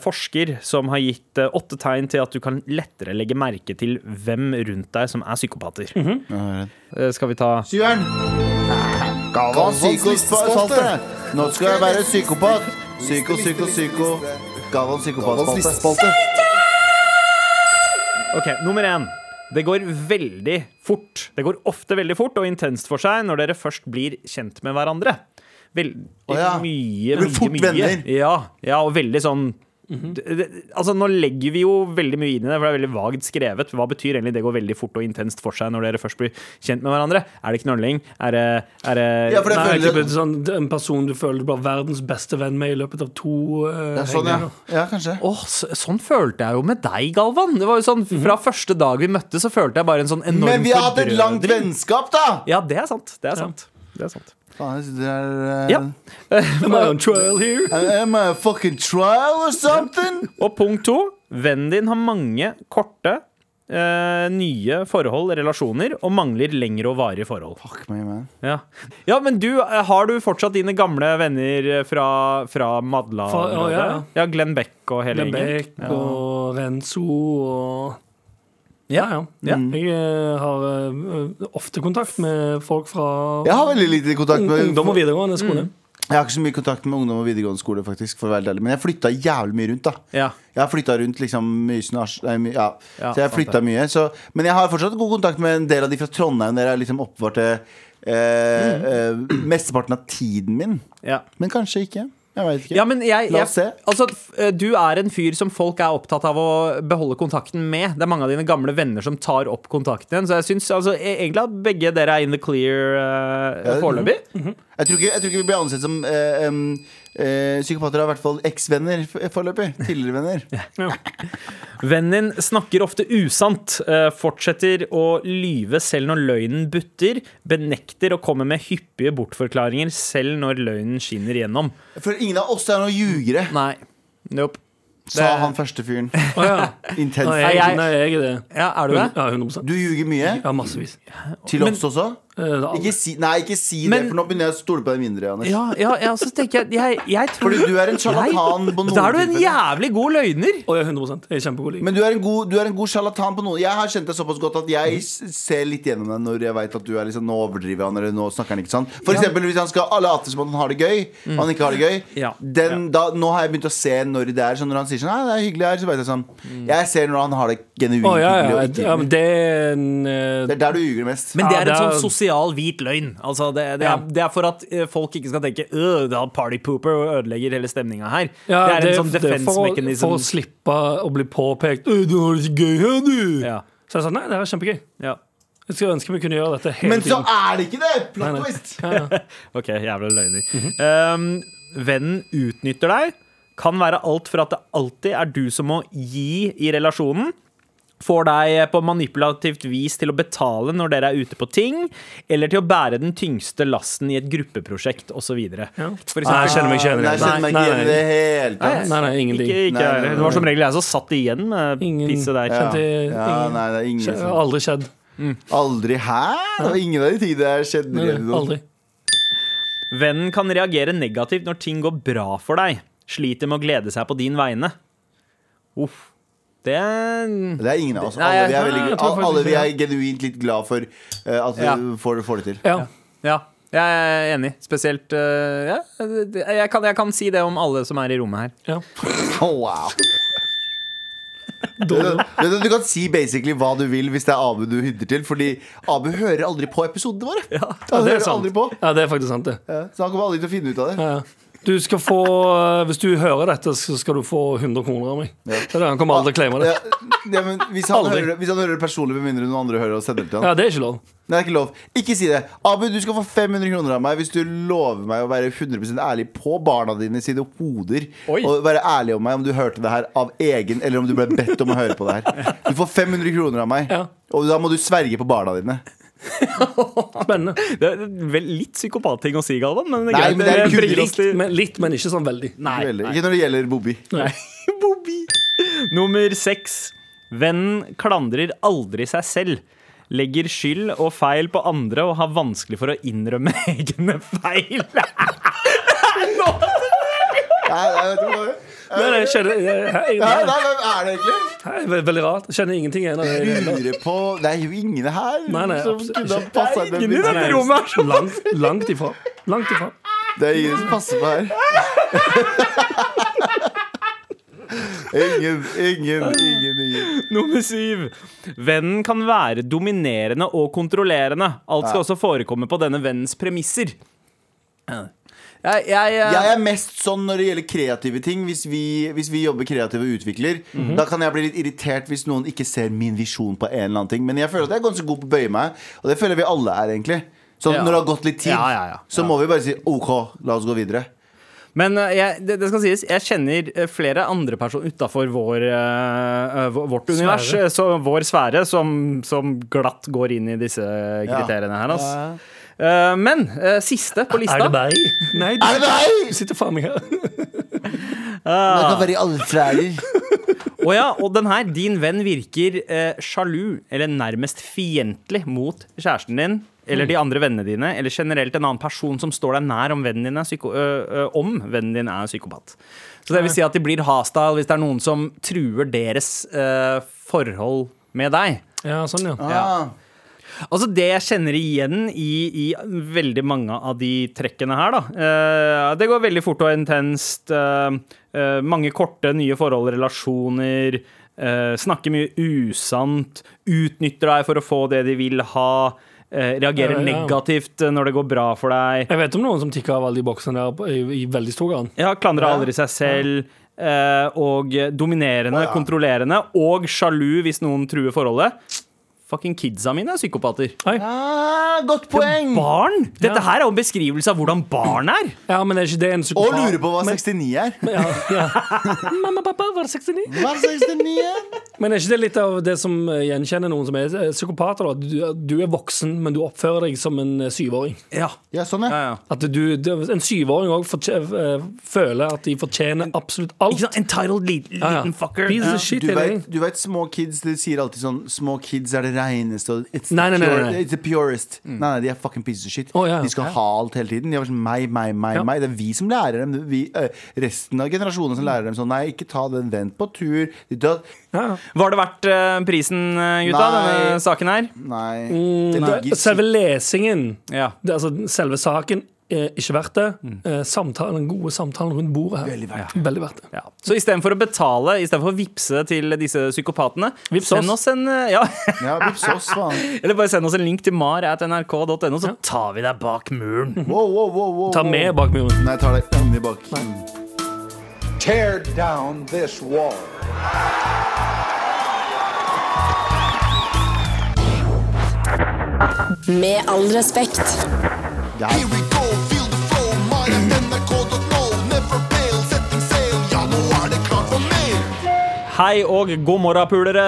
D: forsker som har gitt eh, åtte tegn til at du kan lettere legge merke til hvem rundt deg som er psykopater. Eh, skal vi ta
B: Syveren! Galvan psykospalte. Nå skal jeg være psykopat. Psyko, psyko, psyko. Galvan psykopatspalte.
D: Ok, Nummer én. Det går veldig fort. Det går ofte veldig fort og intenst for seg når dere først blir kjent med hverandre. Veldig
B: Å ja.
D: mye,
B: Blir
D: mye,
B: fort
D: mye.
B: venner.
D: Ja, ja, og veldig sånn det, det, altså Nå legger vi jo veldig mye inn i det, for det er veldig vagt skrevet. Hva betyr egentlig det går veldig fort og intenst for seg når dere først blir kjent med hverandre? Er det knølling? Er det, er det
B: Ja, for det
C: Nei,
B: føler
C: typ, sånn, en person du føler du blir verdens beste venn med i løpet av to eh,
B: Ja, sånn, ja.
C: helger.
B: ja, kanskje.
D: Åh, så, sånn følte jeg jo med deg, Galvan. Det var jo sånn, Fra første dag vi møttes, så følte jeg bare en sånn enorm
B: Men vi har hatt et langt
D: forbrødring.
B: vennskap, da!
D: Ja, det er sant. Det er sant. Det er sant.
B: Faen, jeg sitter her eh,
D: Ja.
C: Am I on trial here?
B: Am I a fucking trial or something?
D: Og punkt to. Vennen din har mange korte, eh, nye forhold, relasjoner, og mangler lengre og varige forhold.
B: Fuck me, man.
D: Ja, ja men du, eh, har du fortsatt dine gamle venner fra, fra Madla?
C: Fra- ja, ja, ja.
D: ja, Glenn Beck og hele
C: Lebek
D: gjengen.
C: og Renzo og Ja, ja.
D: Ja.
C: Jeg eh, har eh, ofte kontakt med folk fra
B: Jeg har veldig lite kontakt
C: ung-
B: med
D: Mm.
C: ungdom og videregående skole.
B: Jeg har ikke så mye kontakt med ungdom og videregående skole, faktisk, for å være helt ærlig. men jeg flytta jævlig mye rundt. da
D: Ja.
B: Jeg har flytta rundt liksom Mysen og Ars- nei, my, ja.
D: Ja,
B: Så jeg
D: sant det.
B: flytta mye. Så, men jeg har fortsatt god kontakt med en del av de fra Trondheim. Dere er liksom oppbevarte eh,
D: Mm.
B: eh, mesteparten av tiden min.
D: Ja.
B: Men kanskje ikke. Jeg veit ikke.
D: Ja, men jeg,
B: La oss
D: jeg,
B: se.
D: altså, f- eh, du er en fyr som folk er opptatt av å beholde kontakten med. Det er mange av dine gamle venner som tar opp kontakten igjen. Så jeg syns altså, e- egentlig at begge dere er in the clear eh,
B: Ja,
D: foreløpig.
B: Jeg, tror ikke, jeg tror ikke vi blir ansett som eh, em, eh, psykopater, i hvert fall eksvenner f- foreløpig. Tidligere venner.
D: Vennen din snakker ofte usant, eh, fortsetter å lyve selv når løgnen butter, benekter å komme med hyppige bortforklaringer selv når løgnen skinner gjennom.
B: For ingen av oss er noen ljugere,
D: Nei. Nope.
B: sa
D: Det-
B: han første fyren.
C: Å ja. Nei,
B: Intenst.
D: Nei,
C: jeg,
D: jeg-
C: nei, jeg er det.
D: Ja, er du det?
C: Ja, 100
B: Du ljuger mye.
C: Ja, massevis.
B: Til oss også?
C: Eh, det er alle.
B: Ikke si, nei, ikke si
D: Men-
B: det, for nå begynner jeg å stole på deg mindre. Anders
D: Ja, ja, ja så tenker jeg Jeg, jeg tror
B: Fordi du er en sjarlatan på noen
D: Da er du en
B: tilfeller.
D: jævlig god løgner.
C: Å, ja, 100 Jeg er kjempegod liker.
B: Men du er en god, du er en god sjarlatan på noen. Jeg har kjent deg såpass godt at jeg s- ser litt gjennom deg når jeg vet at du er liksom, nå overdriver han, eller nå snakker han ikke sant. For eksempel hvis han skal late som at han har det gøy,
C: Mm.
B: og han ikke har det gøy.
D: Ja.
B: Den, da, nå har jeg begynt å se når det er sånn når han sier sånn Nei, det er hyggelig her, så vet jeg sånn. Jeg ser når han har det genuint
C: Mm. Å ja, ja,
B: hyggelig.
C: ja,
B: Og
C: ja,
B: ikke.
C: men det er en eh,
B: Det er der du ljuger mest.
D: Men det
C: Ja,
D: er en
C: det er-
D: sånn sosial hvit løgn. Altså det, det,
C: Ja.
D: er, det er for at eh, folk ikke skal tenke «Øh, det er party pooper og ødelegger hele stemninga her.
C: ja,
D: det er en sånn
C: det er
D: defense
C: for, å-
D: mechanism.
C: for å slippe å bli påpekt. «Øy, 'Du har det så gøy her, du!'
D: Ja.
C: Så jeg sa nei, det her er kjempegøy.
D: Ja.
C: Jeg skulle ønske vi kunne gjøre dette hele
B: Men så
C: tiden.
B: er det ikke det!
C: Nei,
B: Plot
C: nei.
B: twist.
D: Ok, jævla løgner.
C: Mhm.
D: um, vennen utnytter deg. Kan være alt fra at det alltid er du som må gi i relasjonen. Får deg på manipulativt vis til å betale når dere er ute på ting, eller til å bære den tyngste lasten i et gruppeprosjekt osv.
C: Ja.
D: For
C: Nei, jeg kjenner meg ikke igjen
B: Nei,
C: i det.
B: jeg kjenner meg ikke igjen i det hele tatt.
C: Nei, nei, ingenting.
D: Ikke,
B: Nei,
D: ikke jeg
B: nei,
D: heller.
B: nei.
D: Det var som regel jeg som satt igjen med
C: Ingen-
D: pisset der.
B: Ja.
D: kjente jeg.
C: Det-
B: Ja,
C: ingen-
B: nei, det er ingen
C: Det
B: som
C: har aldri skjedd.
B: Aldri hæ? Det var ingen av de tingene der skjedde.
C: Nei,
B: igjen.
C: Aldri.
D: Vennen kan reagere negativt når ting går bra for deg. Sliter med å glede seg på din vegne. Uff. Det
B: Det er ingen av oss.
D: Nei,
B: Alle vi er,
D: jeg-
B: veldig,
C: Nei, jeg tror faktisk
B: alle vi
C: ikke
B: er genuint litt glad for eh, at vi
D: Ja.
B: får, får det til.
C: Ja.
D: Ja, jeg er enig. Spesielt øh, ja, det- jeg, kan, jeg kan si det om alle som er i rommet her.
C: ja.
B: Oh, wow. Du, du, du kan si basically hva du vil hvis det er Abu du hydder til, Fordi Abu hører aldri på episodene våre.
C: Ja,
B: Han
C: det er
B: hører
C: sant.
B: aldri på
C: ja, det er faktisk sant, det.
B: Ja, Så han kommer aldri til å finne ut av det.
C: Ja. Du skal få, eh, hvis du hører dette, så skal du få 100 kroner av meg. Det er det, Han kommer aldri til å claime det.
B: Ja, ja, men hvis, han
C: Aldri.
B: hører, det- hvis han hører det personlig, med mindre noen andre hører og sender det til han
C: Ja, det er ikke lov.
B: Nei, det er ikke lov. Ikke si det. Abu, du skal få 500 kroner av meg hvis du lover meg å være 100 ærlig på barna dine sine hoder.
D: Oi.
B: Og være ærlig om meg om du hørte det her av egen, eller om du ble bedt om å høre på det her. Du får 500 kroner av meg,
C: Ja.
B: og da må du sverge på barna dine.
C: Spennende.
D: Det er vel litt psykopatting å si, Galvan, men det
B: Nei, men det er
D: bringer
B: kunngjort.
D: oss til-
C: Men, litt, men ikke sånn veldig.
D: Nei,
B: Ikke veldig.
D: nei.
B: Ikke når det gjelder Bobby.
C: Nei.
D: Bobby. Nummer seks. Vennen klandrer aldri seg selv. Legger skyld og feil på andre og har vanskelig for å innrømme egne feil.
B: Nei, nei, vet du hva det er?
C: Nei, nei, jeg kjenner, jeg, jeg,
B: Nei,
C: nei,
B: nei, hvem er det egentlig?
C: nei, ve- veldig rart. Jeg kjenner ingenting igjen av det.
B: Lurer på Det er jo ingen her
C: Nei, nei,
B: som
C: absolutt
B: kunne
C: ikke.
B: ha passa
D: Det er ingen i
B: Det
D: dette
C: Nei,
D: rommet er så-
C: Langt, langt ifra. Langt ifra.
B: Det er ingen som passer på her. Ingen, ingen, ingen. ingen.
D: Nummer syv. Vennen kan være dominerende og kontrollerende. Alt skal
B: Ja.
D: også forekomme på denne vennens premisser. Jeg, jeg, eh,
B: Jeg er mest sånn når det gjelder kreative ting. Hvis vi, hvis vi jobber kreativt og utvikler,
D: Mhm.
B: da kan jeg bli litt irritert hvis noen ikke ser min visjon på en eller annen ting. Men jeg føler at jeg er ganske god på å bøye meg, og det føler vi alle er, egentlig. Så
D: Ja.
B: når det har gått litt tid,
D: Ja, ja, ja.
B: så
D: Ja.
B: må vi bare si OK, la oss gå videre.
D: Men eh, jeg, det, det skal sies, jeg kjenner eh, flere andre personer utafor vår, eh, eh, vår- vårt univers, eh, så, vår sfære, som, som glatt går inn i disse kriteriene her. ass. Eh, men eh, siste på lista
C: Er det meg? Nei, du,
B: Er det deg?
C: du sitter faen meg her.
B: Det kan være i alle sfærer.
D: Å ja, og den her, din venn virker eh, sjalu, eller nærmest fiendtlig mot kjæresten din, eller de andre vennene dine, eller generelt en annen person som står deg nær om vennen din er, psyko ø, ø, om vennen din er psykopat. Så det vil si at de blir hostile hvis det er noen som truer deres eh, forhold med deg.
C: Ja, sånn, ja.
B: Ah.
D: Altså Det jeg kjenner igjen i, i veldig mange av de trekkene her, da. Eh, det går veldig fort og intenst. eh, eh, mange korte, nye forhold, relasjoner. eh, snakker mye usant. Utnytter deg for å få det de vil ha. eh,
C: Ja,
D: reagerer
C: ja.
D: negativt eh, når det går bra for deg.
C: Jeg vet om noen som tikker av alle de boksene der på- i, i veldig stor grad.
D: Ja, klandrer aldri seg selv. eh, Og dominerende, kontrollerende og sjalu hvis noen truer forholdet. Fucking kidsa mine er psykopater.
B: Ah, godt poeng!
D: Barn! Dette
C: Ja.
D: her er jo en beskrivelse av hvordan barn er.
C: Ja, men er ikke det en
B: Og
C: psykopat?
B: lurer på hva 69 er.
C: Ja, ja. Mamma, pappa, var det 69?
B: Hva er 69 er?
C: Men er ikke det litt av det som eh, gjenkjenner noen som er eh, psykopater? da? Du, du er voksen, men du oppfører deg som en eh, syvåring.
D: Ja,
B: Ja, sånn, ja.
C: At du, du- en syvåring òg føler at de fortjener absolutt alt.
D: Ikke sant? Entitled li- liten
C: Ja, ja.
D: fucker.
C: Piece
D: Ja.
C: of shit
B: Du
C: hele
B: vet,
C: tiden.
B: du vet små kids De sier alltid sånn Små kids er det reineste og it's,
C: Nei,
B: the
C: nei, nei,
B: pure,
C: nei, nei. Mm.
B: it's the purest Nei, nei, de er fucking pieces of shit
C: Å, ja,
B: De skal
C: ja.
B: ha alt hele tiden De er sånn meg, meg, meg,
C: Ja.
B: meg Det er vi som lærer dem Det er vi, eh, Resten av generasjonen som lærer dem sånn Nei, ikke ta den Vent på tur Ditt og datt.
D: Var det verdt eh, prisen, eh, gutta,
B: Nei.
D: denne saken her?
B: Nei
C: Mm,
B: Det
C: nei.
B: ligger
C: Selve lesingen,
D: Ja. Mm.
C: det, altså, selve saken, er ikke verdt det. Eh, Samtalen, den gode samtalen rundt bordet her.
B: Veldig verdt
C: Veldig verdt det.
D: Ja. Så istedenfor å betale, istedenfor å vippse til disse psykopatene,
C: Vips
D: send
C: oss.
D: oss en eh, ja,
B: Ja, vips oss, faen
D: Eller bare send oss en link til mar.nrk.no, så tar vi deg bak muren.
B: Wow, wow, wow, wow
C: Ta
B: wow.
C: med bak muren.
B: Nei, jeg tar deg inni bak
G: Tear down this wall.
A: Med all respekt.
B: Ja.
H: Here we go, feel the flow. Mer enn NRK.no, never fail. Setting sail, ja, nå er det klart for mer.
D: Hei og god morgen, pulere.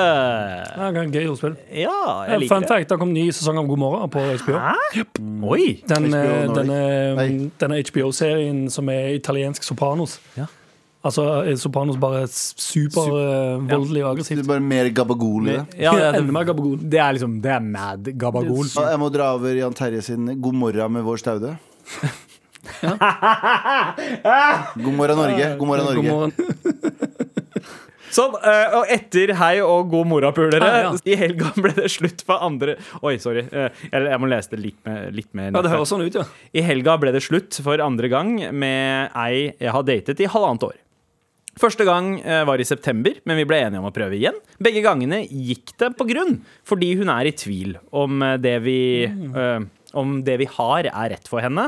C: Ja, gøy ordspill.
D: Ja,
C: Eh,
D: jeg
C: Fun
D: liker det.
C: fact, det kom ny sesong av God morgen på HBO.
D: Oi!
C: Den,
B: HBO
C: eh,
B: Nordic. Nei.
C: denne, denne HBO-serien som er italiensk Sopranos.
D: Ja.
C: Altså er Sopranos bare supervoldelig og
B: Det
C: aggressivt.
B: er bare mer gabagol i det
D: Ja, det,
C: Enda mer gabagol.
I: Det er liksom Det er mad gabagol.
B: Ja, Jeg må dra over Jan Terje sin God morgen med vår staude God morgen Norge God morgen
C: God
B: Norge
C: morgen.
D: Sånn, eh, og etter hei og god morapulere
C: Ah, ja.
D: I helga ble det slutt på andre Oi, sorry. eh, Jeg, jeg må lese det litt, med, litt mer.
C: Ja, det høres sånn ut, ja.
D: I helga ble det slutt for andre gang med ei jeg har datet i halvannet år. Første gang eh, var i september, men vi ble enige om å prøve igjen. Begge gangene gikk det på grunn, fordi hun er i tvil om eh, det vi eh, om det vi har, er rett for henne.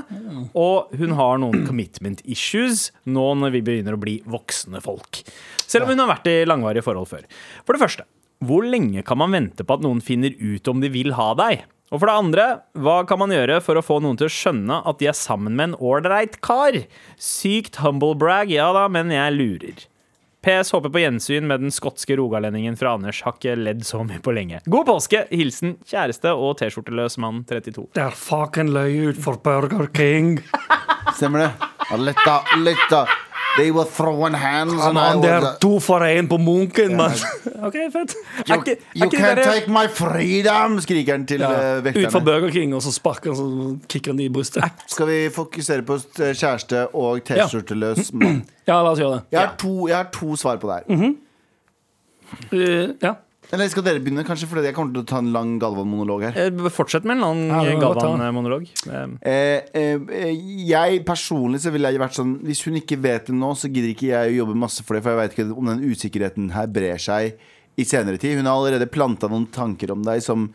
D: Og hun har noen commitment issues nå når vi begynner å bli voksne folk. Selv om hun har vært i langvarige forhold før. For det første, hvor lenge kan man vente på at noen finner ut om de vil ha deg? Og for det andre, hva kan man gjøre for å få noen til å skjønne at de er sammen med en ålreit kar? Sykt humblebrag, ja da, men jeg lurer. PS håper på gjensyn med den skotske rogalendingen fra Anders. Har ikke ledd så mye på lenge. God påske! Hilsen kjæreste og T-skjorteløs mann 32.
C: Der fucking løy ut for Burger King.
B: Stemmer det? Ja, Litt da, litt da They were throwing hands and I
C: Man, det er
B: was
C: to for én på Munken, mann. OK, fett.
B: You,
D: Er ikke- er
B: you
D: ikke det
B: can't
D: der-
B: take my freedom Skriker han til eh,
C: Ut fra
B: vekterne
C: Burger King, og så sparker han, så kicker han de i brystet.
B: Skal vi fokusere på st- kjæreste og t-skjorteløs mann
C: Ja, la oss gjøre det.
B: jeg har, to, jeg har to svar på det her
C: Eh, ja.
B: Eller skal dere begynne kanskje Fordi jeg kommer til å ta en lang Galvan-monolog her
D: Eh, Fortsett med en lang
C: Ja, det
D: eh,
C: var godt, da.
D: Galvan-monolog. Eh,
B: Eh, eh, jeg personlig så ville jeg vært sånn Hvis hun ikke vet det nå, så gidder ikke jeg å jobbe masse for det. For jeg vet ikke om den usikkerheten her brer seg i senere tid. Hun har allerede planta noen tanker om deg som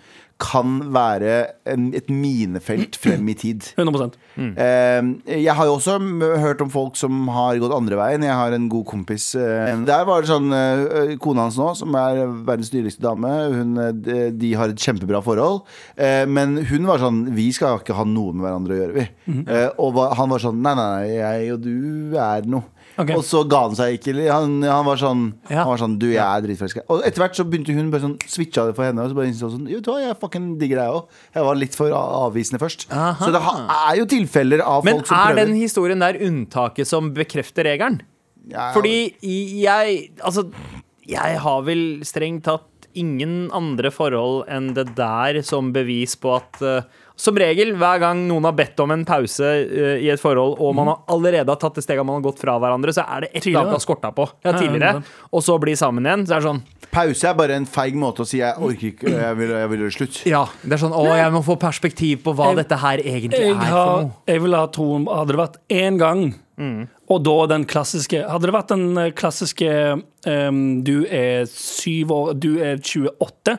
B: kan være en, et minefelt frem i tid.
C: 100
B: Eh, jeg har jo også m- hørt om folk som har gått andre veien. Jeg har en god kompis. eh, Der var det sånn eh, Kona hans nå, som er verdens dyreste dame, hun, eh, de- de har et kjempebra forhold. Eh, Men hun var sånn Vi skal ikke ha noe med hverandre å gjøre, vi. Eh, Og hva- han var sånn Nei, nei, nei, jeg og du er noe.
C: Ok.
B: Og så ga han seg ikke. eller Han, han, var sånn,
I: Ja.
B: han var sånn Du, jeg er dritforelska. Og etter hvert så begynte hun bare sånn switcha det for henne. Og så bare innså sånn Jo, vet du hva, jeg fucking digger deg òg. Jeg var litt for a- avvisende først. Så det ha- er jo tilfeller av
I: Men
B: folk som
I: er
B: prøver.
I: den historien der unntaket som bekrefter regelen?
B: Ja,
I: Fordi jeg Altså, jeg har vel strengt tatt
D: ingen andre forhold enn det der som bevis på at eh, Som regel, hver gang noen har bedt om en pause eh, i et forhold,
J: Mhm.
D: og man har allerede har tatt det steget man har gått fra hverandre, så er det et
C: Tidligere.
D: eller annet det har skorta på.
C: Ja,
D: Ja,
C: ja,
D: tidligere.
C: sant.
D: Og så bli sammen igjen. Så er det sånn
B: Pause er bare en feig måte å si 'jeg orker ikke, jeg vil, jeg vil gjøre slutt'.
J: Ja, det er sånn, å, jeg må få perspektiv på hva
C: Jeg-
J: dette her egentlig
C: Jeg,
J: er for
C: har,
J: noe. Mm.
C: jeg vil ha troen Hadde det vært én gang, og da den klassiske Hadde det vært den eh, klassiske ehm, Du er syv år Du er 28,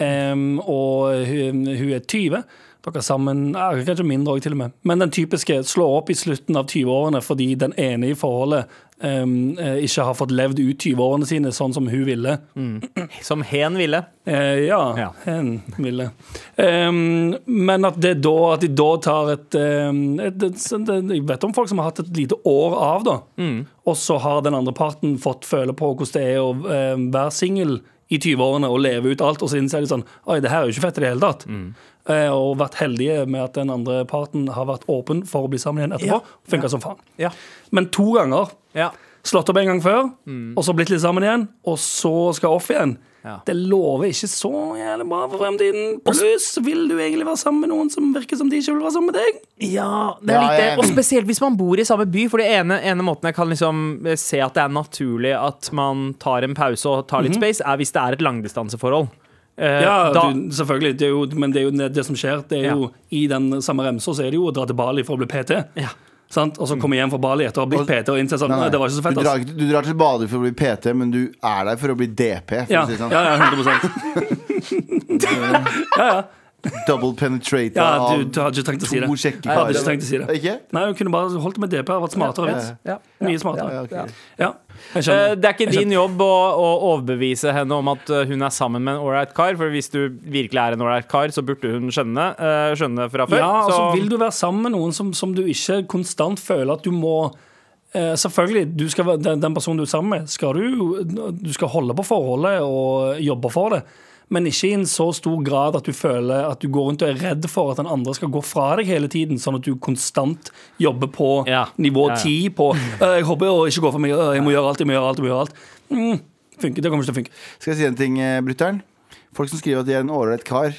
C: ehm, og hun, hun er 20. Dere er sammen ja, Kanskje mindre òg, til og med. Men den typiske slår opp i slutten av 20-årene fordi den ene i forholdet ehm, eh, ikke har fått levd ut 20-årene sine sånn som hun ville.
D: Som hen ville.
C: Eh, ja,
D: Ja.
C: hen ville. Ehm, men at det da At de da tar et, ehm, et, et, sånt- et Jeg vet om folk som har hatt et lite år av, da. Og så har den andre parten fått føle på hvordan det er å ehm, være singel i 20-årene og leve ut alt, og så innser de sånn Oi, det her er jo ikke fett i det hele tatt. Eh, og vært heldige med at den andre parten har vært åpen for å bli sammen igjen etterpå. Funka som faen.
J: Ja.
C: Men to ganger
J: Ja.
C: Slått opp en gang før,
D: Mm.
C: og så blitt litt sammen igjen, og så skal off igjen.
J: Ja.
C: Det lover ikke så jævlig bra for fremtiden. Pluss, vil du egentlig være sammen med noen som virker som de ikke vil være sammen med deg?
J: Ja, det er
B: Ja,
J: litt det.
B: jeg er
J: Og
B: enig.
J: spesielt hvis man bor i samme by, for
D: For det ene, ene måten jeg kan liksom eh, se at det er naturlig at man tar en pause og tar litt space, er hvis det er et langdistanseforhold. Eh,
C: Ja,
D: da-
C: du, selvfølgelig, det er jo, men det er jo ne- det som skjer. Det er
D: Ja.
C: jo, I den samme remsa så er det jo å dra til Bali for å bli PT.
D: Ja.
C: Sant? Og så komme hjem fra Bali etter å ha blitt
B: Og-
C: PT og innse sånn, nei, det var ikke så fett.
B: du, drar,
C: ass.
B: ikke- du drar til Badøy for å bli PT, men du er der for å bli DP. For
C: Ja,
B: å si det sånn.
C: ja, ja, 100
B: Double penetrated
C: Ja,
B: av
C: du, du hadde ikke trengt å si det.
B: to kjekke
C: Jeg hadde
B: karer.
C: ikke trengt å si det.
B: Ikke?
C: Nei, hun kunne bare holdt det med DP og vært smartere. Vits.
J: ja.
C: Mye smartere.
B: Ja, ok.
C: Ja, jeg
D: Eh,
C: skjønner.
D: Det er ikke din jobb å, å overbevise henne om at eh, hun er sammen med en ålreit kar, for hvis du virkelig er en ålreit kar, så burde hun skjønne, eh, skjønne det fra før.
C: Ja, altså
D: så-
C: Vil du være sammen med noen som, som du ikke konstant føler at du må eh, Selvfølgelig, du skal, være- den, den personen du er sammen med, skal du, du skal holde på forholdet og jobbe for det. Men ikke i en så stor grad at du føler at du går rundt og er redd for at den andre skal gå fra deg hele tiden, sånn at du konstant jobber på
D: Ja.
C: nivå
D: Ja,
C: 10
D: ja.
C: på «Øh, 'Jeg håper å ikke gå for mye, øh, jeg må gjøre alt, jeg må gjøre alt'. Jeg må gjøre alt. Mm, funker, Det kommer ikke til å funke.
B: Skal jeg si en ting, eh, brutter'n? Folk som skriver at de er en ålreit kar.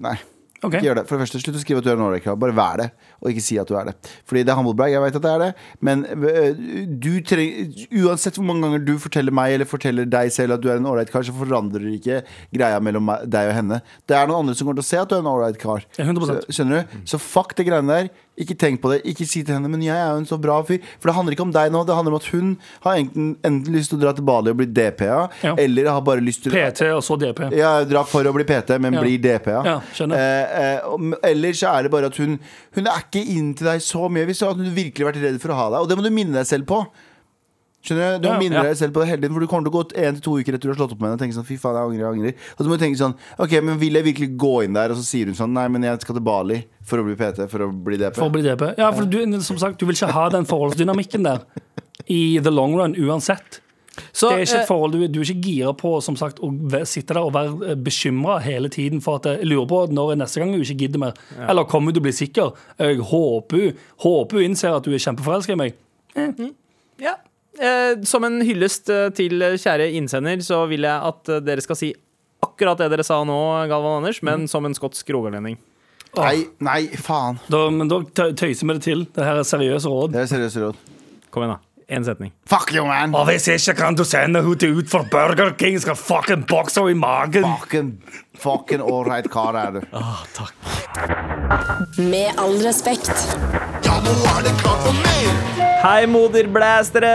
B: Nei,
C: Ok.
B: ikke gjør det. For det første, slutt å skrive at du er en ålreit kar. Bare vær det, og ikke si at du er det. Fordi det er humblebrag, jeg veit at det er det, men eh, du trenger Uansett hvor mange ganger du forteller meg eller forteller deg selv at du er en ålreit kar, så forandrer det ikke greia mellom meg- deg og henne. Det er noen andre som kommer til å se at du er en ålreit kar.
C: Ja, 100%.
B: Så- Skjønner du? Så fuck det greiene der. Ikke tenk på det. Ikke si til henne 'men jeg er jo en så bra fyr'. For det handler ikke om deg nå. Det handler om at hun har enten, enten lyst til å dra til Bali og bli DPA,
C: Ja.
B: eller har bare lyst til å
C: PT og så DP.
B: ja, dra for å bli PT, men
C: Ja.
B: blir DP, ja.
C: Ja, skjønner.
B: Eh, eh, om- eller så er det bare at hun Hun er ikke inn til deg så mye hvis du hadde virkelig vært redd for å ha deg. Og det må du minne deg selv på. Skjønner Du Du må
C: Ja,
B: minne
C: ja.
B: deg selv på det hele tiden, for du kommer til å gå én til to uker etter du har slått opp med henne og tenke sånn fy faen, jeg angrer, jeg angrer. Og så må du tenke sånn OK, men vil jeg virkelig gå inn der? Og så sier hun sånn nei, men jeg skal til Bali for å bli PT, for å bli DP.
C: For å bli DP. Ja, for du, som sagt, du vil ikke ha den forholdsdynamikken der i the long run uansett.
J: Så,
C: det er ikke
J: eh,
C: et forhold du, du er ikke gira på som sagt, å ve- sitte der og være bekymra hele tiden for at eh, jeg lurer på når er neste gang hun ikke gidder mer. Eller kommer hun til å bli sikker? Jeg håper hun- håper hun innser at du er kjempeforelska i meg.
D: Ja. Eh, som en hyllest eh, til eh, kjære innsender, så vil jeg at eh, dere skal si akkurat det dere sa nå, Galvan Anders, men som en skotsk rogalending.
B: Nei, nei, faen.
C: Da, men da tø- tøyser vi det til. Det her er seriøse råd.
B: Det er seriøst råd.
D: Kom igjen, da. Én setning.
B: Fuck you, man!
C: Og hvis ikke kan du sende henne til ut for Burger King, skal fucking bokse henne i magen.
B: Fucking, fucking ålreit kar er du.
A: Med all respekt.
K: Ja, nå er det klart for mer.
D: Hei, moderblæstere!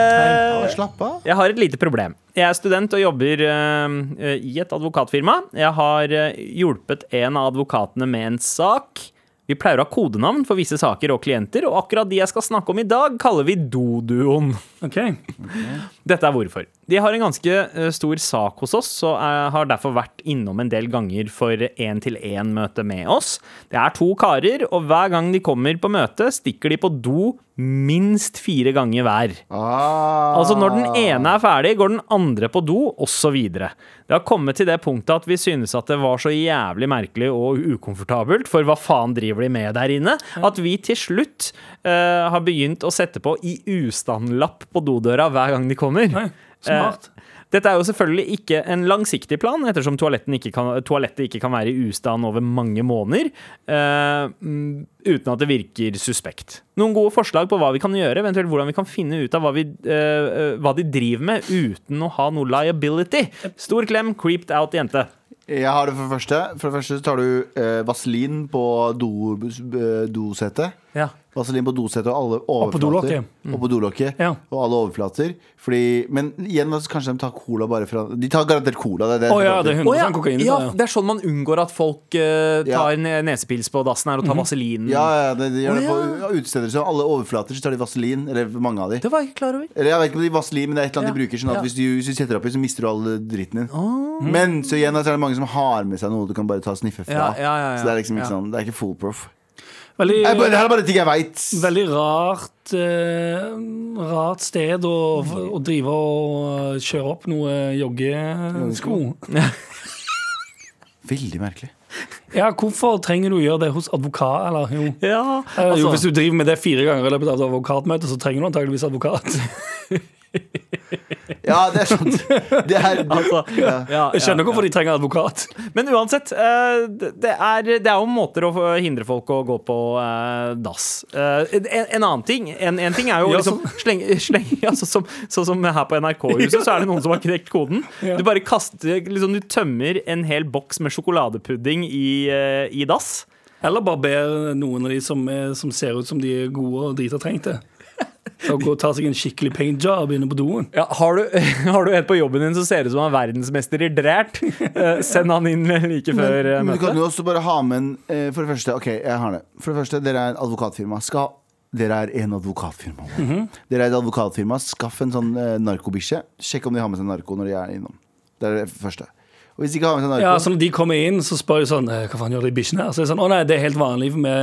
B: Slapp av.
D: Jeg har et lite problem. Jeg er student og jobber eh, i et advokatfirma. Jeg har eh, hjulpet en av advokatene med en sak. Vi pleier å ha kodenavn for visse saker og klienter, og akkurat de jeg skal snakke om i dag, kaller vi Doduoen.
C: Ok,
D: Dette er hvorfor. De har en ganske eh, stor sak hos oss, og eh, har derfor vært innom en del ganger for én-til-én-møte med oss. Det er to karer, og hver gang de kommer på møte, stikker de på do minst fire ganger hver.
B: Ah.
D: Altså Når den ene er ferdig, går den andre på do, osv. Det har kommet til det punktet at vi synes at det var så jævlig merkelig og ukomfortabelt, for hva faen driver de med der inne? At vi til slutt eh, har begynt å sette på i ustand-lapp på dodøra hver gang de kommer.
C: Nei, smart.
D: Eh,
L: Dette er jo selvfølgelig ikke en langsiktig plan, ettersom toaletten ikke kan, toalettet ikke kan være i ustand over mange måneder, eh, mm, uten at det virker suspekt. Noen gode forslag på hva vi kan gjøre, eventuelt hvordan vi kan finne ut av hva, vi, eh, eh, hva de driver med, uten å ha noe liability. Stor klem, creeped out jente.
B: Jeg har det for det første. For det første så tar du eh, vaselin på do- eh, dosetet.
C: Ja.
B: Vaselin på dosetet og alle overflater.
C: dolokket.
B: Og på dolokket.
C: Ja.
B: Og alle overflater. Fordi, men igjen, altså, kanskje de tar cola bare fra De tar garantert cola. Det er det
C: Å
B: jeg
C: ja,
B: skal
C: det er
B: til.
C: 100
D: Å ja,
C: kokain. i
D: ja,
C: det, ja.
D: det er sånn man unngår at folk eh,
B: Ja.
D: tar ne- nesepils på dassen her og
C: Mhm.
D: tar vaselin.
B: ja, ja, det, de gjør det på utesteder. Så alle overflater så tar de vaselin. Eller mange av de.
D: Det var jeg ikke klar over.
B: Eller jeg vet ikke om de er vaselin, men det er et eller annet de bruker. Sånn at
D: ja.
B: hvis, du, hvis du setter opp i, så mister du all dritten din. Men så igjen så er det mange som har med seg noe du kan bare ta og sniffe fra.
D: Ja, ja, ja, ja.
B: Så det er liksom ikke
D: Ja.
B: sånn, det er ikke foolproof.
C: Veldig,
B: Jeg bare- Det her er bare ting jeg veit.
C: Eh, veldig rart eh, Rart sted å, å drive og eh, kjøre opp noe joggesko.
B: Veldig merkelig.
C: Ja, hvorfor trenger du å gjøre det hos advokat, eller? Jo.
D: Ja,
C: Eh,
L: altså,
C: jo, hvis du driver med det fire ganger i løpet av et advokatmøte, så trenger du antageligvis advokat.
B: Ja, det er sant. Det er,
C: Altså,
B: ja.
D: ja,
C: Jeg skjønner hvorfor de trenger advokat.
D: Men uansett, eh, det det er, det er jo måter å få- hindre folk å gå på eh, dass. Eh, En, en annen ting en, en ting er jo
C: Ja,
D: liksom sleng, sleng, altså, som, Sånn som her på NRK-huset, så er det noen som har knekt koden.
C: Ja.
D: Du bare kaster liksom, Du tømmer en hel boks med sjokoladepudding i, eh, i dass.
C: Eller bare ber noen av de som, er, som ser ut som de er gode og drita trengte, til å gå og ta seg en skikkelig paint job inne på doen.
D: Ja, har, du, har du en på jobben din som ser ut som han er verdensmester i drært, eh, send han inn like før eh,
B: Men du kan
D: møtet.
B: jo også bare ha med en eh, For det første, ok, jeg har det. For det første, dere er en advokatfirma. Skal dere er en advokatfirma.
C: Mhm.
B: Dere er et advokatfirma. Skaff en sånn eh, narkobikkje. Sjekk om de har med seg narko når de er innom. Det er det første. Og hvis de ikke har med seg narko
C: Ja, så Når de kommer inn, så spør de sånn «Eh, Hva faen gjør de bikkjene her? Så er det sånn Å nei, det er helt vanlig. for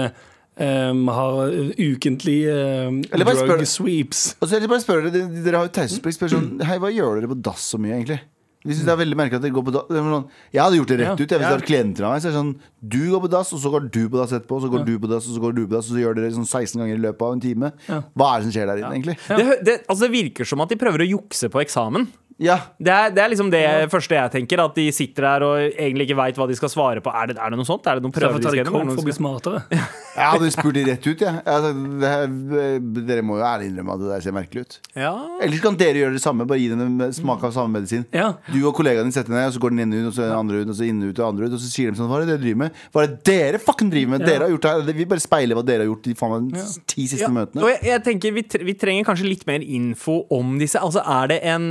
C: Vi ehm, har ukentlige ehm,
B: Eller bare spør-
C: drug sweeps.
B: Og så vil jeg bare spørre dere, dere har jo taushetsplikt. Spør sånn Hei, hva gjør dere på dass så mye, egentlig? Vi synes det er veldig merkelig at dere går på dass. Det er Sånn, jeg hadde gjort det rett
C: Ja.
B: ut. Jeg, hvis det hadde vært klienter av meg, så er det sånn Du går på dass, og så går du på dass etterpå, og så går du på dass, og så går du på dass, og så gjør dere sånn 16 ganger i løpet av en time. Hva er det som skjer der inne, egentlig?
D: Det, hø- det, altså, det virker som at de prøver å jukse på eksamen.
B: Ja.
D: Det er, det er liksom det første jeg tenker. At de sitter der og egentlig ikke veit hva de skal svare på. Er det, er det noe sånt? Er det noen prøver
C: Derfor
D: de
C: tar
D: skal
C: de
D: gjennom?
C: coke for å
D: Er det noe
C: bli
D: som-
C: smartere.
B: Jeg hadde spurt de rett ut, jeg. jeg hadde sagt, det her, dere må jo ærlig innrømme at det der ser merkelig ut.
D: Ja.
B: Ellers kan dere gjøre det samme, bare gi dem en smak av samme medisin.
C: Ja.
B: Du og kollegaen din setter deg ned, og så går den ene ut, og så den andre ut, og så inn ut, og andre ut, og så sier de sånn Hva er det dere driver med? Hva er det dere fucking driver med? Dere har gjort det her. Vi bare speiler hva dere har gjort de faen meg ti siste
D: Ja,
B: møtene.
D: og jeg, jeg tenker vi, tre, vi trenger kanskje litt mer info om disse. Altså, Er det en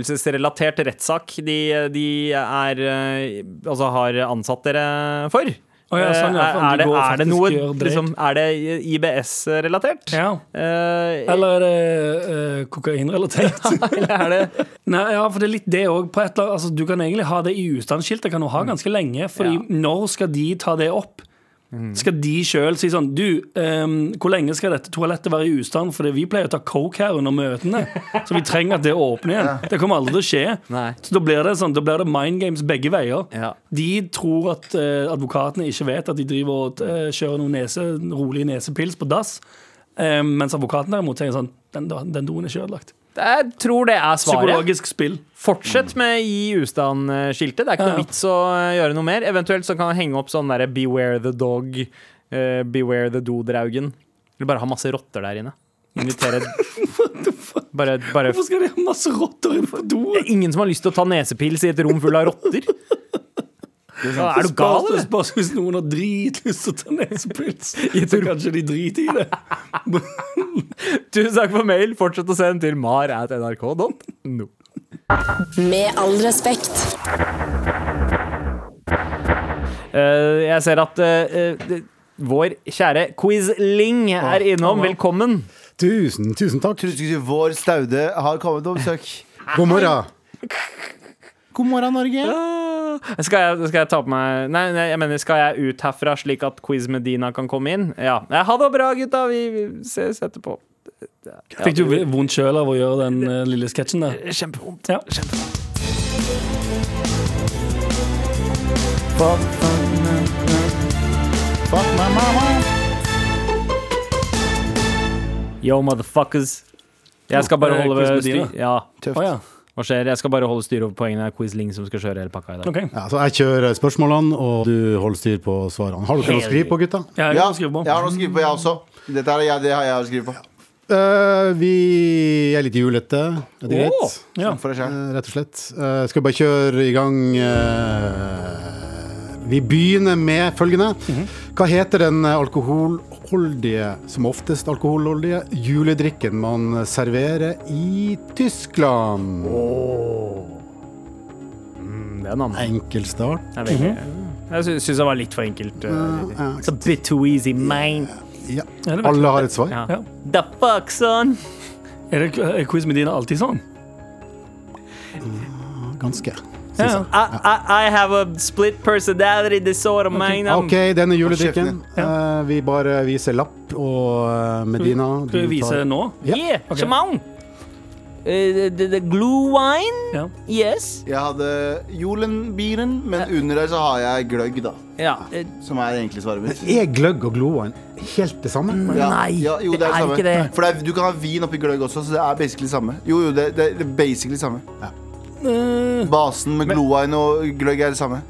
D: fordøyelsesrelatert rettssak de, de er eh, Altså har ansatt dere for?
C: Å ja, sånn, ja,
D: Eh,
C: faen, de
D: er,
C: går
D: det, er det
C: faktisk
D: noe
C: gjør drep.
D: liksom, Er det IBS-relatert?
C: Ja. Eller er det eh, kokainrelatert?
D: Eh, eller er det
C: Nei, ja, for det er litt det òg. Altså, du kan egentlig ha det i utstandsskiltet, kan du ha ganske lenge. Fordi når skal de ta det opp? Skal de sjøl si sånn Du, ehm, hvor lenge skal dette toalettet være i ustand? Fordi vi pleier å ta coke her under møtene, så vi trenger at det åpner igjen. Det kommer aldri til å skje.
D: Nei.
C: Så da blir det sånn, da blir det mind games begge veier.
D: Ja.
C: De tror at eh, advokatene ikke vet at de driver og eh, kjører noen nese, rolig nesepils på dass. Eh, mens advokaten derimot tenker sånn Den, den doen er ikke ødelagt.
D: Jeg tror det er svaret.
C: Psykologisk spill.
D: Fortsett med i ustand-skiltet. Det er ikke
C: Ja, ja.
D: noe vits å eh, gjøre noe mer. Eventuelt så kan jeg henge opp sånn derre Beware the dog, eh, beware the do-draugen. Eller bare ha masse rotter der inne. Invitere bare, bare
C: Hvorfor skal de ha masse rotter inne på doen?
D: Ingen som har lyst til å ta nesepils i et rom full av rotter? Ja, Er du gal,
C: Spørs-
D: eller?
C: spørs hvis noen har dritlyst til å ta nesepils, så kanskje de driter i det.
D: Tusen takk for mail. Fortsett å sende til mar at nrk.no.
E: Med all respekt.
D: Eh, jeg ser at eh, eh, det- vår kjære Quizling er innom. Velkommen.
M: Tusen, tusen takk.
B: Tusen takk. Vår Staude har kommet på besøk.
M: God morgen. God morgen, Norge.
D: Ah, Skal jeg, skal jeg ta på meg nei, nei, jeg mener, skal jeg ut herfra slik at Quiz Medina kan komme inn? Ja. Nei, Ha det bra, gutta. Vi vi ses etterpå.
C: Fikk du vondt sjøl av å gjøre den eh, lille sketsjen der?
D: Kjempevondt.
C: Ja.
B: Fuck, fuck, my- fuck my mama.
D: Yo, motherfuckers. Jeg skal bare
C: Eh,
D: holde
C: Quiz
D: ved Eh,
C: Medina.
D: styr. Ja.
B: Tøft.
C: Å ja.
D: Hva skjer? Jeg skal bare holde styr over poengene. Det er Quiz Ling som skal kjøre hele pakka i dag.
C: OK.
M: Ja, så jeg kjører spørsmålene, og du holder styr på svarene. Har dere noe å skrive på, gutta?
C: Ja, jeg
B: Ja,
C: kan skrive på.
B: jeg har noe å skrive på, jeg også. Dette er, jeg, det har jeg å skrive på.
M: Eh, vi er litt julete, er det greit?
C: Ja.
B: For deg selv.
M: Eh, rett og slett. Eh, skal vi bare kjøre i gang eh, Vi begynner med følgende. Hva heter den alkoholholdige, som oftest alkoholholdige, juledrikken man serverer i Tyskland?
D: Mm, Det er en annen.
M: Enkel start.
D: Det er veldig- Jeg sy- syns det var litt for enkelt. Uh,
M: Ja,
D: It's a bit too easy, man.
C: Ja,
M: ja.
C: det vet
M: Alle har et svar.
D: Ja.
C: Ja.
D: The fuck, son?
C: jeg. Er det er quiz med dine alltid sånn?
M: Ganske.
C: Ja, ja.
D: I, I, I have a split personality disorder, man. I'm-
M: OK, denne
B: kjeften
M: juledrikken. Eh, vi bare viser lapp, og eh, Medina
C: Skal vi
M: du tar-
C: vise nå?
M: Ja.
D: Yeah,
C: Ok.
D: come on. Uh, the, the, the glue wine?
C: Ja.
D: Yes.
B: Jeg hadde Jolenbieren, men under der så har jeg gløgg, da.
D: Ja. Uh,
B: Som er egentlig svaret mitt.
M: Er gløgg og gloen helt det samme?
C: Mm.
B: Ja.
D: Nei,
B: ja, jo, det, er det samme.
D: ikke det.
B: For det er, du kan ha vin oppi gløgg også, så det er basically samme. Jo, jo, det, det er basically samme. Basen med gloine og gløgg er det samme.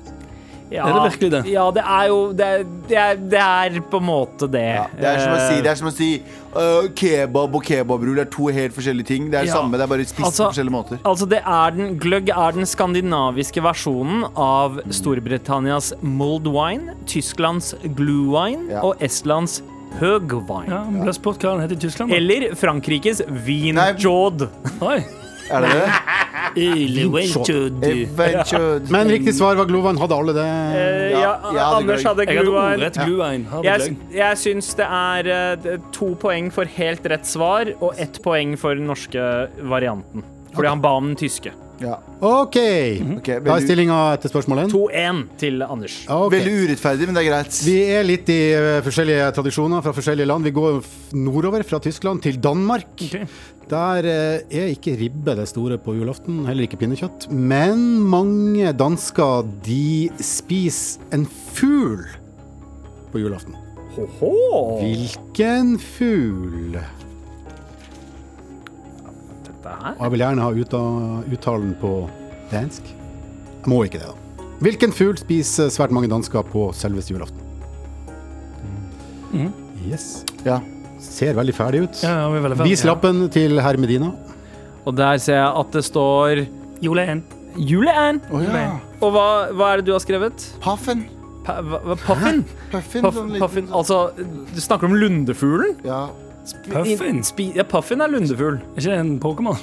D: Ja,
C: Er det virkelig det?
D: Ja, det er jo Det er, det er, det er på en måte det.
B: Ja, det er som å si, det er som å si øh, kebab og kebabrull er to helt forskjellige ting. Det er det
D: Ja.
B: samme, det er bare spist
D: Altså-
B: på forskjellige måter.
D: Altså, det er den, Gløgg er den skandinaviske versjonen av Storbritannias mulled wine, Tysklands glue wine
B: Ja.
D: og Estlands høgwine.
C: Ja, men Ble spurt hva den het i Tyskland. da.
D: Eller Frankrikes
B: Nei.
D: vinjod.
C: Oi.
B: Er det det? Eventuelt.
M: Men riktig svar var gloen. Hadde alle det?
D: Eh, ja,
B: Ja, jeg hadde
D: Anders
B: gløgg.
D: hadde
C: Jeg hadde
D: glue wine.
C: ordrett gluein. Hadde
D: Jeg,
C: gløgg.
D: jeg syns det er eh, det- to poeng for helt rett svar og ett poeng for den norske varianten. Fordi han ba om den tyske.
B: Ja.
M: OK.
C: Mhm.
B: Ok,
M: Da er
B: veldig,
M: stillinga etter spørsmålet.
D: 2-1 til Anders.
M: Ok.
B: veldig urettferdig, men det er greit.
M: Vi er litt i eh, forskjellige tradisjoner fra forskjellige land. Vi går f- nordover fra Tyskland til Danmark. Der eh, er ikke ribbe det store på julaften, heller ikke pinnekjøtt. Men mange dansker de spiser en fugl på julaften. Hvilken fugl?
D: Dette her
M: Og jeg vil gjerne ha uta, uttalen på dansk. Jeg må ikke det, da. Hvilken fugl spiser svært mange dansker på selveste julaften? Yes.
B: Ja.
M: Ser veldig ferdig ut.
C: Ja, ja, vi er veldig ferdig.
M: Vis lappen til herr Medina.
D: Og der ser jeg at det står
C: Julein.
D: Juleand.
B: Å ja.
D: Og hva, hva er det du har skrevet?
B: Paffen.
D: Pa, hva, hva- puffin?
B: Puffin.
D: Puff,
B: sånn liten-
D: puffin? Altså, du snakker om lundefuglen?
B: Ja.
C: Puffin?
D: Spi, ja, puffin er lundefugl.
C: Er ikke det en Pokémon?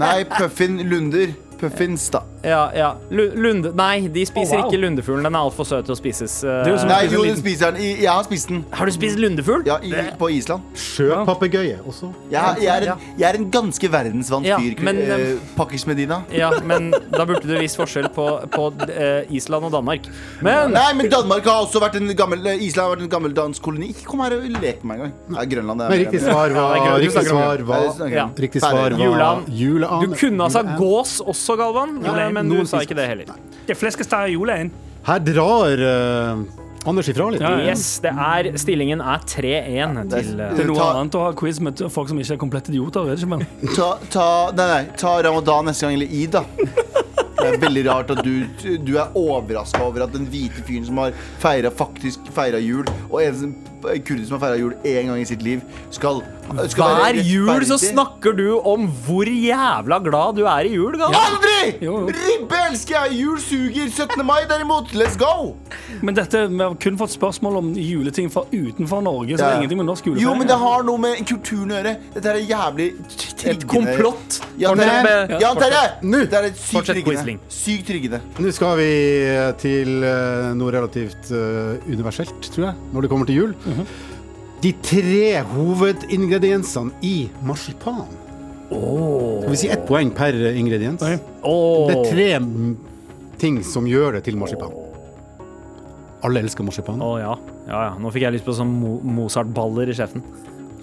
B: Nei, Puffin Lunder. Puffins, da.
D: Ja, ja. Lu- Lunde... Nei, de spiser
C: Å, wow.
D: ikke lundefuglen. Den er altfor søt til å spises. eh.
C: Det er jo som-
B: Nei, jo, den spiser den. I- Jeg har spist den.
D: Har du spist lundefugl?
B: Ja, i, på Island.
M: Sjøpapegøye også.
B: Jeg, jeg, er en, jeg er en ganske verdensvant
D: Ja,
B: fyr,
D: men,
B: eh, Pakkis Medina.
D: Ja, men da burde du vist forskjell på, på eh, Island og Danmark. Men
B: Nei, men Danmark har også vært en gammel eh, Island har vært en gammel dansk koloni. Ikke kom her og lek med meg engang. Nei, Grønland er
M: Men riktig svar
D: Ja,
M: var
D: det er greit.
M: Riktig svar
B: Nei,
M: var,
B: det snakker jeg
D: Ja.
B: om.
M: riktig svar var
D: Juleand.
M: Juleand.
D: du kunne altså
M: Juleand.
D: gås også, Galvan, eh,
M: Juleand.
D: men du
M: Noen
D: sa
M: spiser-
D: ikke det heller.
C: Det er fleskestei i julein.
M: Her drar eh, Anders ifra litt.
C: Ja, ja.
D: Yes, det er, stillingen er 3-1 til eh,
C: Det er noe
B: Ta-
C: annet å ha quiz med folk som ikke er komplette idioter. Er det ikke, men?
B: Ta, ta, nei, nei, ta ramadan neste gang, eller id, da. Det er veldig rart at du, du er overraska over at den hvite fyren som har feira faktisk feira jul, og en som- en kurder som har feira jul én gang i sitt liv, skal, skal
D: Hver
B: være
D: jul så
B: rettferdig.
D: snakker du om hvor jævla glad du er i jul, Galvan.
B: Aldri!
C: Jo, jo.
B: Ribbe elsker jeg! Jul suger! 17. mai, derimot. Let's go!
C: men dette, vi har kun fått spørsmål om juleting fra utenfor Norge. Så det
B: Ja.
C: er ingenting med norsk julefeiring.
B: Jo, men det har noe med kulturen å gjøre. Dette er jævlig triggende.
D: Et komplott.
B: Jan
D: Fortsett med-
B: Terje! Jan Terje!
M: Nå.
B: Det er et sykt
D: Fortsett
B: triggende.
D: Quisling.
B: Sykt triggende.
M: Nå skal vi til eh, noe relativt eh, universelt, tror jeg, når det kommer til jul.
D: Mhm.
M: De tre hovedingrediensene i marsipan. Skal vi si ett poeng per eh, ingrediens? Det er tre mm, ting som gjør det til marsipan. Alle elsker marsipan.
D: Å ja. ja, ja. Nå fikk jeg lyst på sånn Mo Mozart-baller i kjeften.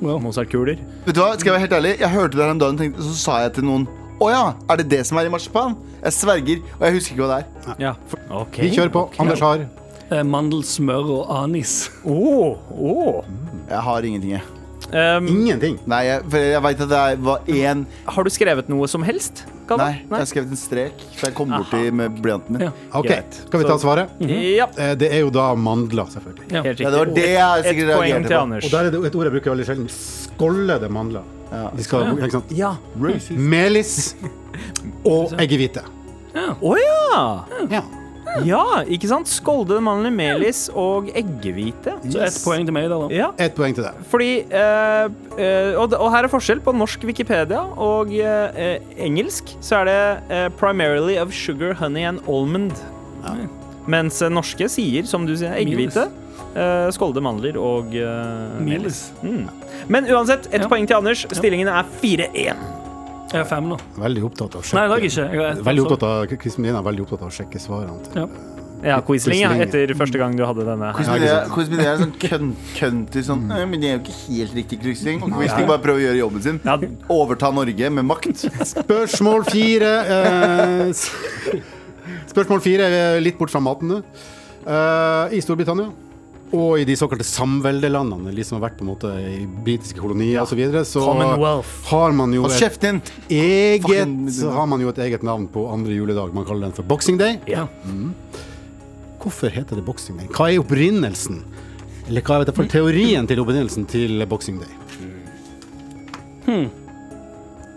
D: Mozart-kuler.
B: Vet du hva, skal jeg være helt ærlig? Jeg hørte det her om dagen, tenkte, så sa jeg til noen Å ja, er det det som er i marsipan? Jeg sverger, og jeg husker ikke hva det er.
D: Ja. for- Ok.
M: Vi kjører på. Anders har
C: Eh, Mandel, smør og anis.
D: Å, å.
B: Jeg har ingenting, jeg.
D: Um,
M: Ingenting.
B: Nei, jeg, for jeg veit at det er- var én
D: har du skrevet noe som helst? Galvan?
B: Nei, jeg har skrevet en strek, for jeg kom borti med blyantene.
C: Ja.
B: Ja.
M: Ok,
D: Greit.
M: Skal vi ta svaret?
D: Ja,
M: Eh, Det er jo da mandler, selvfølgelig.
C: Ja.
D: helt
B: det
D: riktig.
B: var det jeg
D: Et
B: sikkert
D: poeng til
B: reagerte på.
D: Anders.
M: Og der er det et ord jeg bruker veldig sjelden. Skållede mandler. De skal, ikke sant?
D: Ja.
M: Melis og eggehvite.
D: Å ja!
M: Ja.
D: Ja, ikke sant? Skålde mandler, melis og eggehvite.
C: Så ett poeng til meg der, da.
D: Ja.
M: Ett poeng til deg.
D: Fordi eh, eh, og, og her er forskjell på norsk Wikipedia og eh, eh, engelsk. Så er det eh, 'primarily of sugar, honey and almond'. Mens eh, norske sier, som du sier, eggehvite. eh, skålde mandler og eh, melis.
C: Miles.
D: Men uansett, ett
C: Ja.
D: poeng til Anders. Stillingen er 4-1.
C: Jeg har fem nå.
M: Veldig opptatt av å
C: Nei, i dag
M: sjekke.
C: ikke. Jeg har ett,
M: Veldig
C: altså.
M: opptatt av, Kristin Lina er veldig opptatt av å sjekke svarene. Til.
C: Ja.
D: Ja, Quisling, ja,
M: Quisling.
D: etter første gang du hadde denne. her.
M: Ja, ikke sant.
B: Hvordan er sånn køn- køntig sånn «Nei, Men det er jo ikke helt riktig kryssing. Og Quisling bare prøver å gjøre jobben sin.
D: Ja.
B: Overta Norge med makt.
M: Spørsmål fire eh, s- Spørsmål fire er litt bort fra maten nå. Eh, I Storbritannia og i de såkalte samveldelandene, de som har vært på en måte i britiske kolonier osv., så, videre, så
D: Commonwealth.
M: har man jo
B: Hold
M: et
B: kjeften din!
M: eget
B: Fucking-
M: Så har man jo et eget navn på andre juledag. Man kaller den for Boxing Day.
D: Ja.
M: Mm. Hvorfor heter det Boxing Day? Hva er opprinnelsen? Eller hva er det
B: Hm.
M: for teorien til opprinnelsen til Boxing Day?
B: Hm.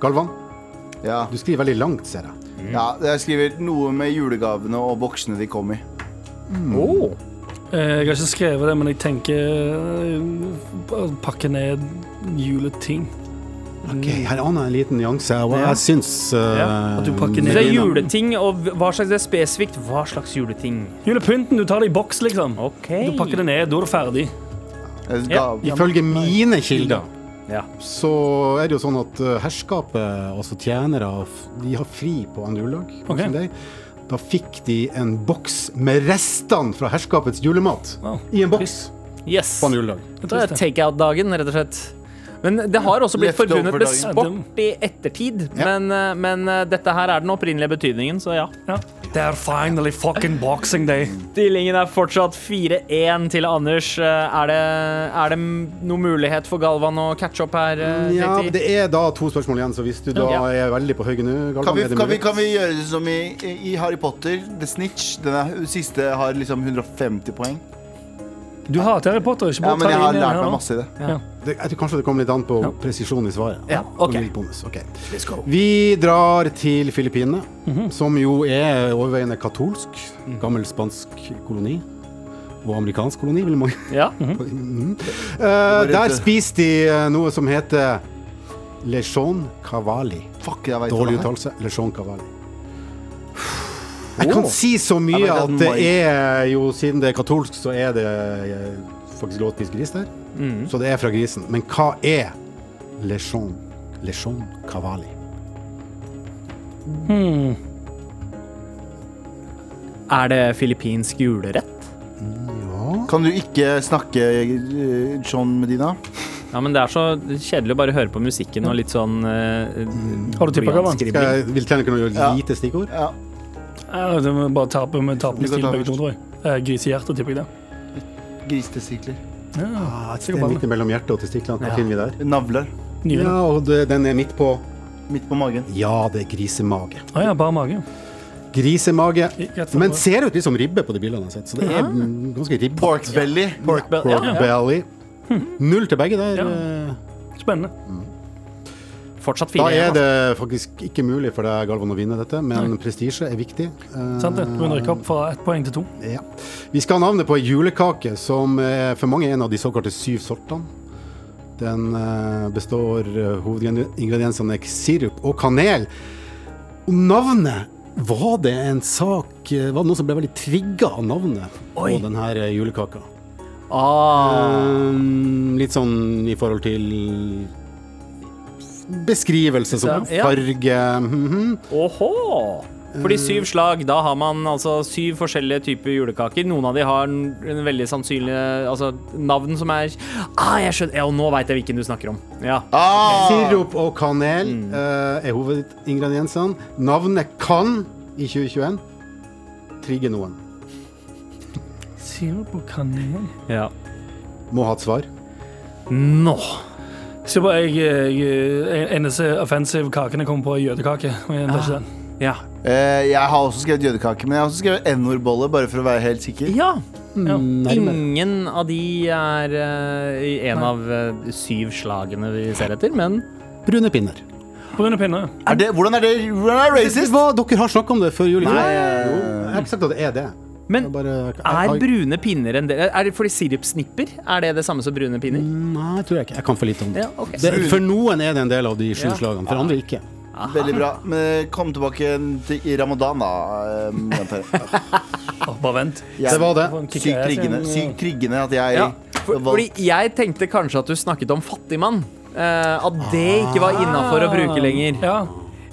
M: Galvan,
B: Ja.
M: du skriver veldig langt, ser jeg.
B: ja, jeg skriver noe med julegavene og boksene de kom i.
D: Åh.
C: Eh, Jeg har ikke skrevet det, men jeg tenker eh, bare pakke ned juleting.
M: Ok, Her aner jeg en liten nyanse. Og jeg syns eh,
D: Ja,
C: at du pakker ned.
D: Så det er
M: Melina-
D: juleting, og hva slags det er spesifikt? Hva slags juleting?
C: Julepynten, du tar det i boks, liksom.
D: Ok.
C: Du pakker det ned, da er du ferdig.
B: Jeg
D: Ja.
B: ga-
M: Ifølge mine kilder
D: Ja.
M: så er det jo sånn at eh, herskapet, altså tjenere, f- de har fri på andre juledag. på
C: Ok.
M: sin dag. Da fikk de en boks med restene fra herskapets julemat.
C: Wow.
M: I en boks
D: Yes.
M: på en juledag.
D: Det er takeout-dagen, rett og slett. Men det har også blitt forbundet med
B: Leftover-dagen.
D: sport i ettertid.
M: Ja.
D: Men, eh, men eh, dette her er den opprinnelige betydningen, så ja.
C: Ja. Det er finally fucking boxing day.
D: Stillingen er fortsatt 4-1 til Anders. Eh, Er det, er det noen mulighet for Galvan å catche opp her? eh,
M: Ja,
D: JT?
M: det er da to spørsmål igjen, så hvis du da
D: Ja.
M: er veldig på høyre nå Galvan,
B: Kan vi,
M: er det
B: kan, vi,
M: mulig?
B: kan vi gjøre det som i, i Harry Potter? The Snitch. Den er- siste har liksom 150 poeng.
C: Du hater Harry Potter, ikke
B: Ja,
C: bare
B: men
C: ta
B: jeg
C: det
B: har
C: inn igjen
B: lært
C: her
B: meg
C: nå.
B: masse i det.
M: det, jeg tror kanskje det kommer litt an på presisjon i svaret.
D: Ja,
M: Og
D: ok.
M: en liten bonus. ok. Vi drar til Filippinene,
D: Mhm.
M: som jo er overveiende katolsk. Gammel spansk koloni. Og amerikansk koloni, vil mange
D: Ja.
M: Mhm. Eh, Der spiser de eh, noe som heter lechon cavali.
B: Fuck, jeg vet
M: Dårlig
B: det her.
M: uttalelse. Lechon cavali. Jeg kan si så mye
B: Jeg vet
M: at
B: at
M: det
B: mai-
M: er jo Siden det er katolsk, så er det eh, faktisk lov å spise gris der.
B: Mm.
M: Så det er fra grisen. Men hva er lechon? Lechon cavali.
D: Er det filippinsk julerett?
B: Kan du ikke snakke eh, John Medina?
D: Ja, men det er så kjedelig å bare høre på musikken og litt sånn eh,
C: Har du tippet, Galvan?
M: Skal jeg, vil tjene kunne gjøre
B: Ja.
M: et lite stikkord?
B: Ja.
C: Ja, det må bare tape med tapende
B: Vi kan
C: stil
B: ta
C: begge to,
B: først.
C: tror jeg. Eh, Grisehjerte, tipper jeg det.
B: Gristestikler.
M: Ah, et sted midt mellom hjertet og testiklene. Hva finner vi der?
B: Navler.
C: Nylig.
M: Ja, og det, den er midt på.
B: Midt på magen.
M: Ja, det er grisemage.
C: Å ja, bare mage.
M: Grisemage.
C: Ikke et
M: Men
C: forhold.
M: ser ut litt som ribbe på de bildene jeg har sett, så det er mm, ganske ribbe.
B: Pork belly.
M: Pork belly. Null til begge der. eh.
C: Spennende.
D: Fortsatt
M: Da
D: fire. altså.
M: er det faktisk ikke mulig for deg, Galvan, å vinne dette, men prestisje er viktig. Eh,
C: Sant det? Du må rykke opp fra ett poeng til to.
M: Ja. Vi skal ha navnet på ei julekake som eh, for mange er en av de såkalte syv sortene. Den eh, består eh, Hovedingrediensene er sirup og kanel. Og navnet Var det en sak eh, Var det noen som ble veldig trigga av navnet
D: Oi.
M: på denne her, eh, julekaka?
D: Ah.
M: Eh, litt sånn i forhold til Beskrivelse som
D: Liksom, Ja.
M: farge mhm.
D: Åhå! Fordi
M: Eh.
D: syv slag, da har man altså syv forskjellige typer julekaker. Noen av de har en, en veldig sannsynlig altså, navn som er Ah, jeg skjønner. Ja, og nå veit jeg hvilken du snakker om. Ja.
M: Ah.
D: Mm.
M: Sirup og kanel eh, er hovedingrediensene. Navnet kan i 2021 trigge noen.
C: Sirup og kanel.
D: ja.
M: Må ha et svar.
D: Nå
C: Se på, jeg, jeg, eneste offensive kaken jeg kom på, er jødekake. Og jeg endte ikke den.
D: Ja.
B: Eh, jeg har også skrevet jødekake, men jeg har også skrevet n-ordbolle, bare for å være helt sikker.
D: ja. mm.
M: Nærmere.
D: Ingen av de er eh, i en av eh, syv slagene vi ser etter, men
M: Brune pinner.
C: Brune pinner.
B: Er det, hvordan er det hvordan er det
M: Det
B: racist?
M: var, dere har snakka om det før jul. Nei, jo, jeg har ikke sagt at det er det.
D: Men
M: Jeg bare, jeg,
D: eh. er
M: jeg,
D: brune pinner en del Er det fordi sirupsnipper? Er det det samme som brune pinner?
M: Nei, tror jeg ikke. Jeg kan for lite om det.
D: Ja, ok.
M: det. For noen er det en del av de sju
D: Ja.
M: slagene, for andre ikke.
B: Veldig bra. Men eh, kom tilbake til, i ramadan, da. eh, jenter.
C: Å, bare vent.
B: Jeg-
M: Det var det.
C: Får en kick
B: Sykt
C: ass,
B: triggende,
C: en-
B: sykt triggende at jeg
D: Ja, for,
B: valgte-
D: fordi jeg tenkte kanskje at du snakket om fattigmann. Eh, at det ikke var innafor å bruke lenger.
C: Ja,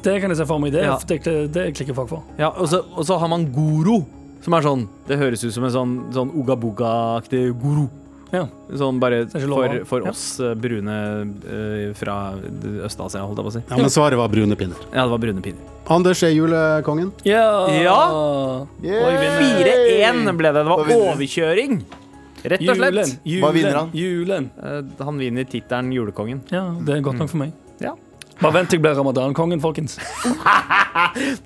C: det kan jeg se for meg. Det,
D: Ja.
C: det, det, det klikker folk for.
D: Ja, og, så, og så har man guru, som er sånn Det høres ut som en sånn, sånn ugabuga-aktig guru.
C: Ja.
D: Sånn bare
C: er ikke lov
D: for,
C: å-
D: for
C: ja.
D: oss eh, brune eh, fra Øst-Asia, holdt jeg på å si.
M: Ja, men svaret var brune pinner.
D: Ja, det var brune pinner.
M: Anders er julekongen.
C: Ja!
B: Yeah!
C: Og jeg vinner.
D: 4-1 ble det. Det
B: Hva
D: var
B: vinner du?
D: overkjøring, rett og slett.
C: Julen, julen,
B: Hva vinner han?
C: Julen.
D: Eh, han vinner tittelen Julekongen.
C: Ja, det er godt nok for meg.
D: Ja.
C: Bare vent til jeg blir ramadankongen, folkens.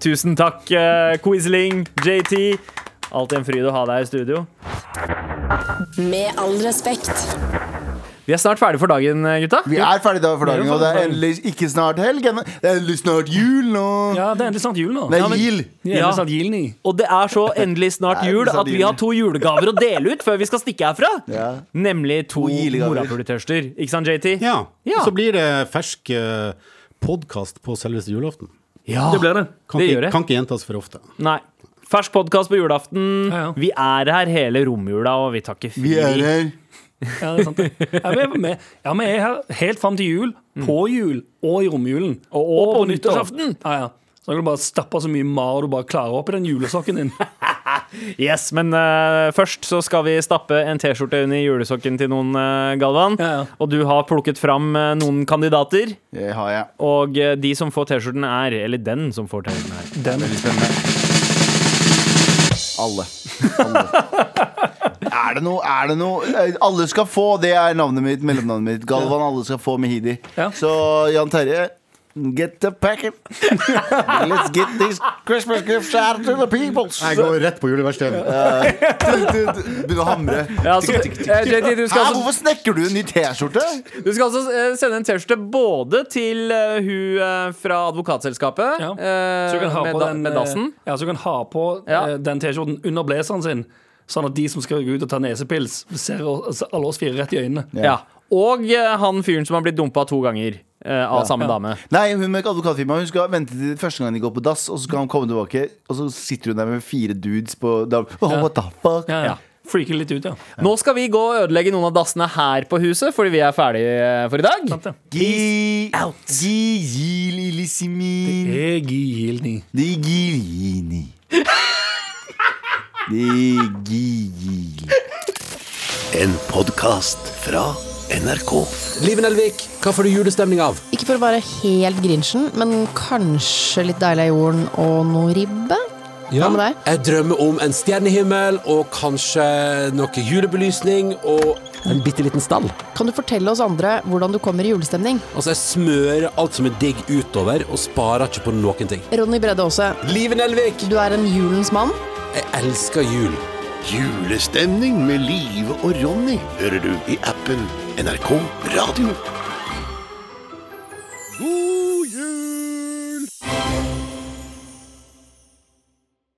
D: Tusen takk, eh, Quisling, JT. Alltid en fryd å ha deg i studio.
E: Med all respekt.
D: Vi er snart ferdig for dagen, eh, gutta.
B: Vi er ferdige da for dagen,
D: Vi er
B: og det er
D: ferdig.
B: endelig ikke snart helg. ennå. Det er endelig snart jul nå.
C: Ja, det er endelig snart jul nå.
B: Nei,
C: ja, men-
B: jul.
C: Det er
D: Ja.
C: endelig snart jul nå.
D: Og det er så endelig snart
B: Det er
D: jul
B: snart
D: at vi har to julegaver å dele ut før vi skal stikke herfra.
B: Ja.
D: Nemlig to
B: To julegaver.
D: morapulitørster. Ikke sant, JT?
M: Ja.
D: Ja.
M: Og så blir det fersk eh, podkast på selveste julaften.
D: Ja.
C: Det blir det.
M: Kan,
D: Det gjør
M: ikke,
D: det.
M: kan ikke gjentas for ofte.
D: Nei. Fersk podkast på julaften.
C: Ja, ja.
D: Vi er her hele romjula, og vi tar ikke fri.
B: Vi er her.
C: Ja, det er sant. det. Ja, vi er med. Ja, vi er her helt fram til jul, på jul og i romjulen.
D: Mm. Og- og på nyttårsaften.
C: Ja, ja. Så kan du bare stappe så mye mar du bare klarer opp i den julesokken din.
D: Yes, men eh, først så skal vi stappe en T-skjorte under julesokken til noen, eh, Galvan.
C: Ja, ja.
D: Og du har plukket fram eh, noen kandidater.
B: Det har jeg.
D: Og eh, de som får T-skjorten er Eller den som får T-skjorten er
C: Den.
B: Veldig spennende. Alle. Alle. Er det noe, er det noe eh, Alle skal få, det er navnet mitt, mellomnavnet mitt. Galvan, alle skal få Mehidi.
C: Ja.
B: Så Jan Terje, get the packet. Let's get these Christmas gifts out to the peoples. Eh,
M: Jeg går rett på juleverkstedet.
B: Begynne å hamre.
D: ja, så, eh, JT, du,
B: Hæ,
D: skal altså,
B: hvorfor snekker du en ny T-skjorte?
D: du skal altså eh, sende en T-skjorte både til eh, hun eh, fra advokatselskapet
C: Ja.
D: eh,
C: Så du kan ha
D: med,
C: på
D: da-
C: den,
D: med dassen.
C: eh, Ja, så du kan ha på
D: Ja.
C: eh, den T-skjorten under blazeren sin, sånn at de som skal gå ut og ta nesepils, ser oss- alle oss fire rett i øynene.
D: Ja. Og eh, han fyren som har blitt dumpa to ganger eh, av samme dame.
B: Nei, hun med advokatfirmaet Hun skal vente til første gang de går på dass, og så skal han komme tilbake, og så sitter hun der med fire dudes på da- oh, What the fuck?
C: Ja,
D: Ja.
C: ja. Freaker litt ut, ja.
D: Nå skal vi gå og ødelegge noen av dassene her på huset, fordi vi er ferdige eh, for i dag.
C: Sant det?
B: Gi Gi gil illisimin
C: Egilni.
B: De gilini De gil
N: En podkast fra NRK.
O: Liven Elvik, hva får du julestemning av?
E: Ikke for å være helt grinchen, men kanskje litt deilig av jorden og noe ribbe? Hva med deg?
O: Jeg drømmer om en stjernehimmel og kanskje noe julebelysning og en bitte liten stall.
E: Kan du fortelle oss andre hvordan du kommer i julestemning?
O: Altså, jeg smører alt som er digg utover og sparer ikke på noen ting.
E: Ronny Bredde Aase,
O: Liven Elvik,
E: du er en julens mann.
O: jeg elsker jul.
N: Julestemning med Live og Ronny hører du i appen NRK Radio.
D: God jul!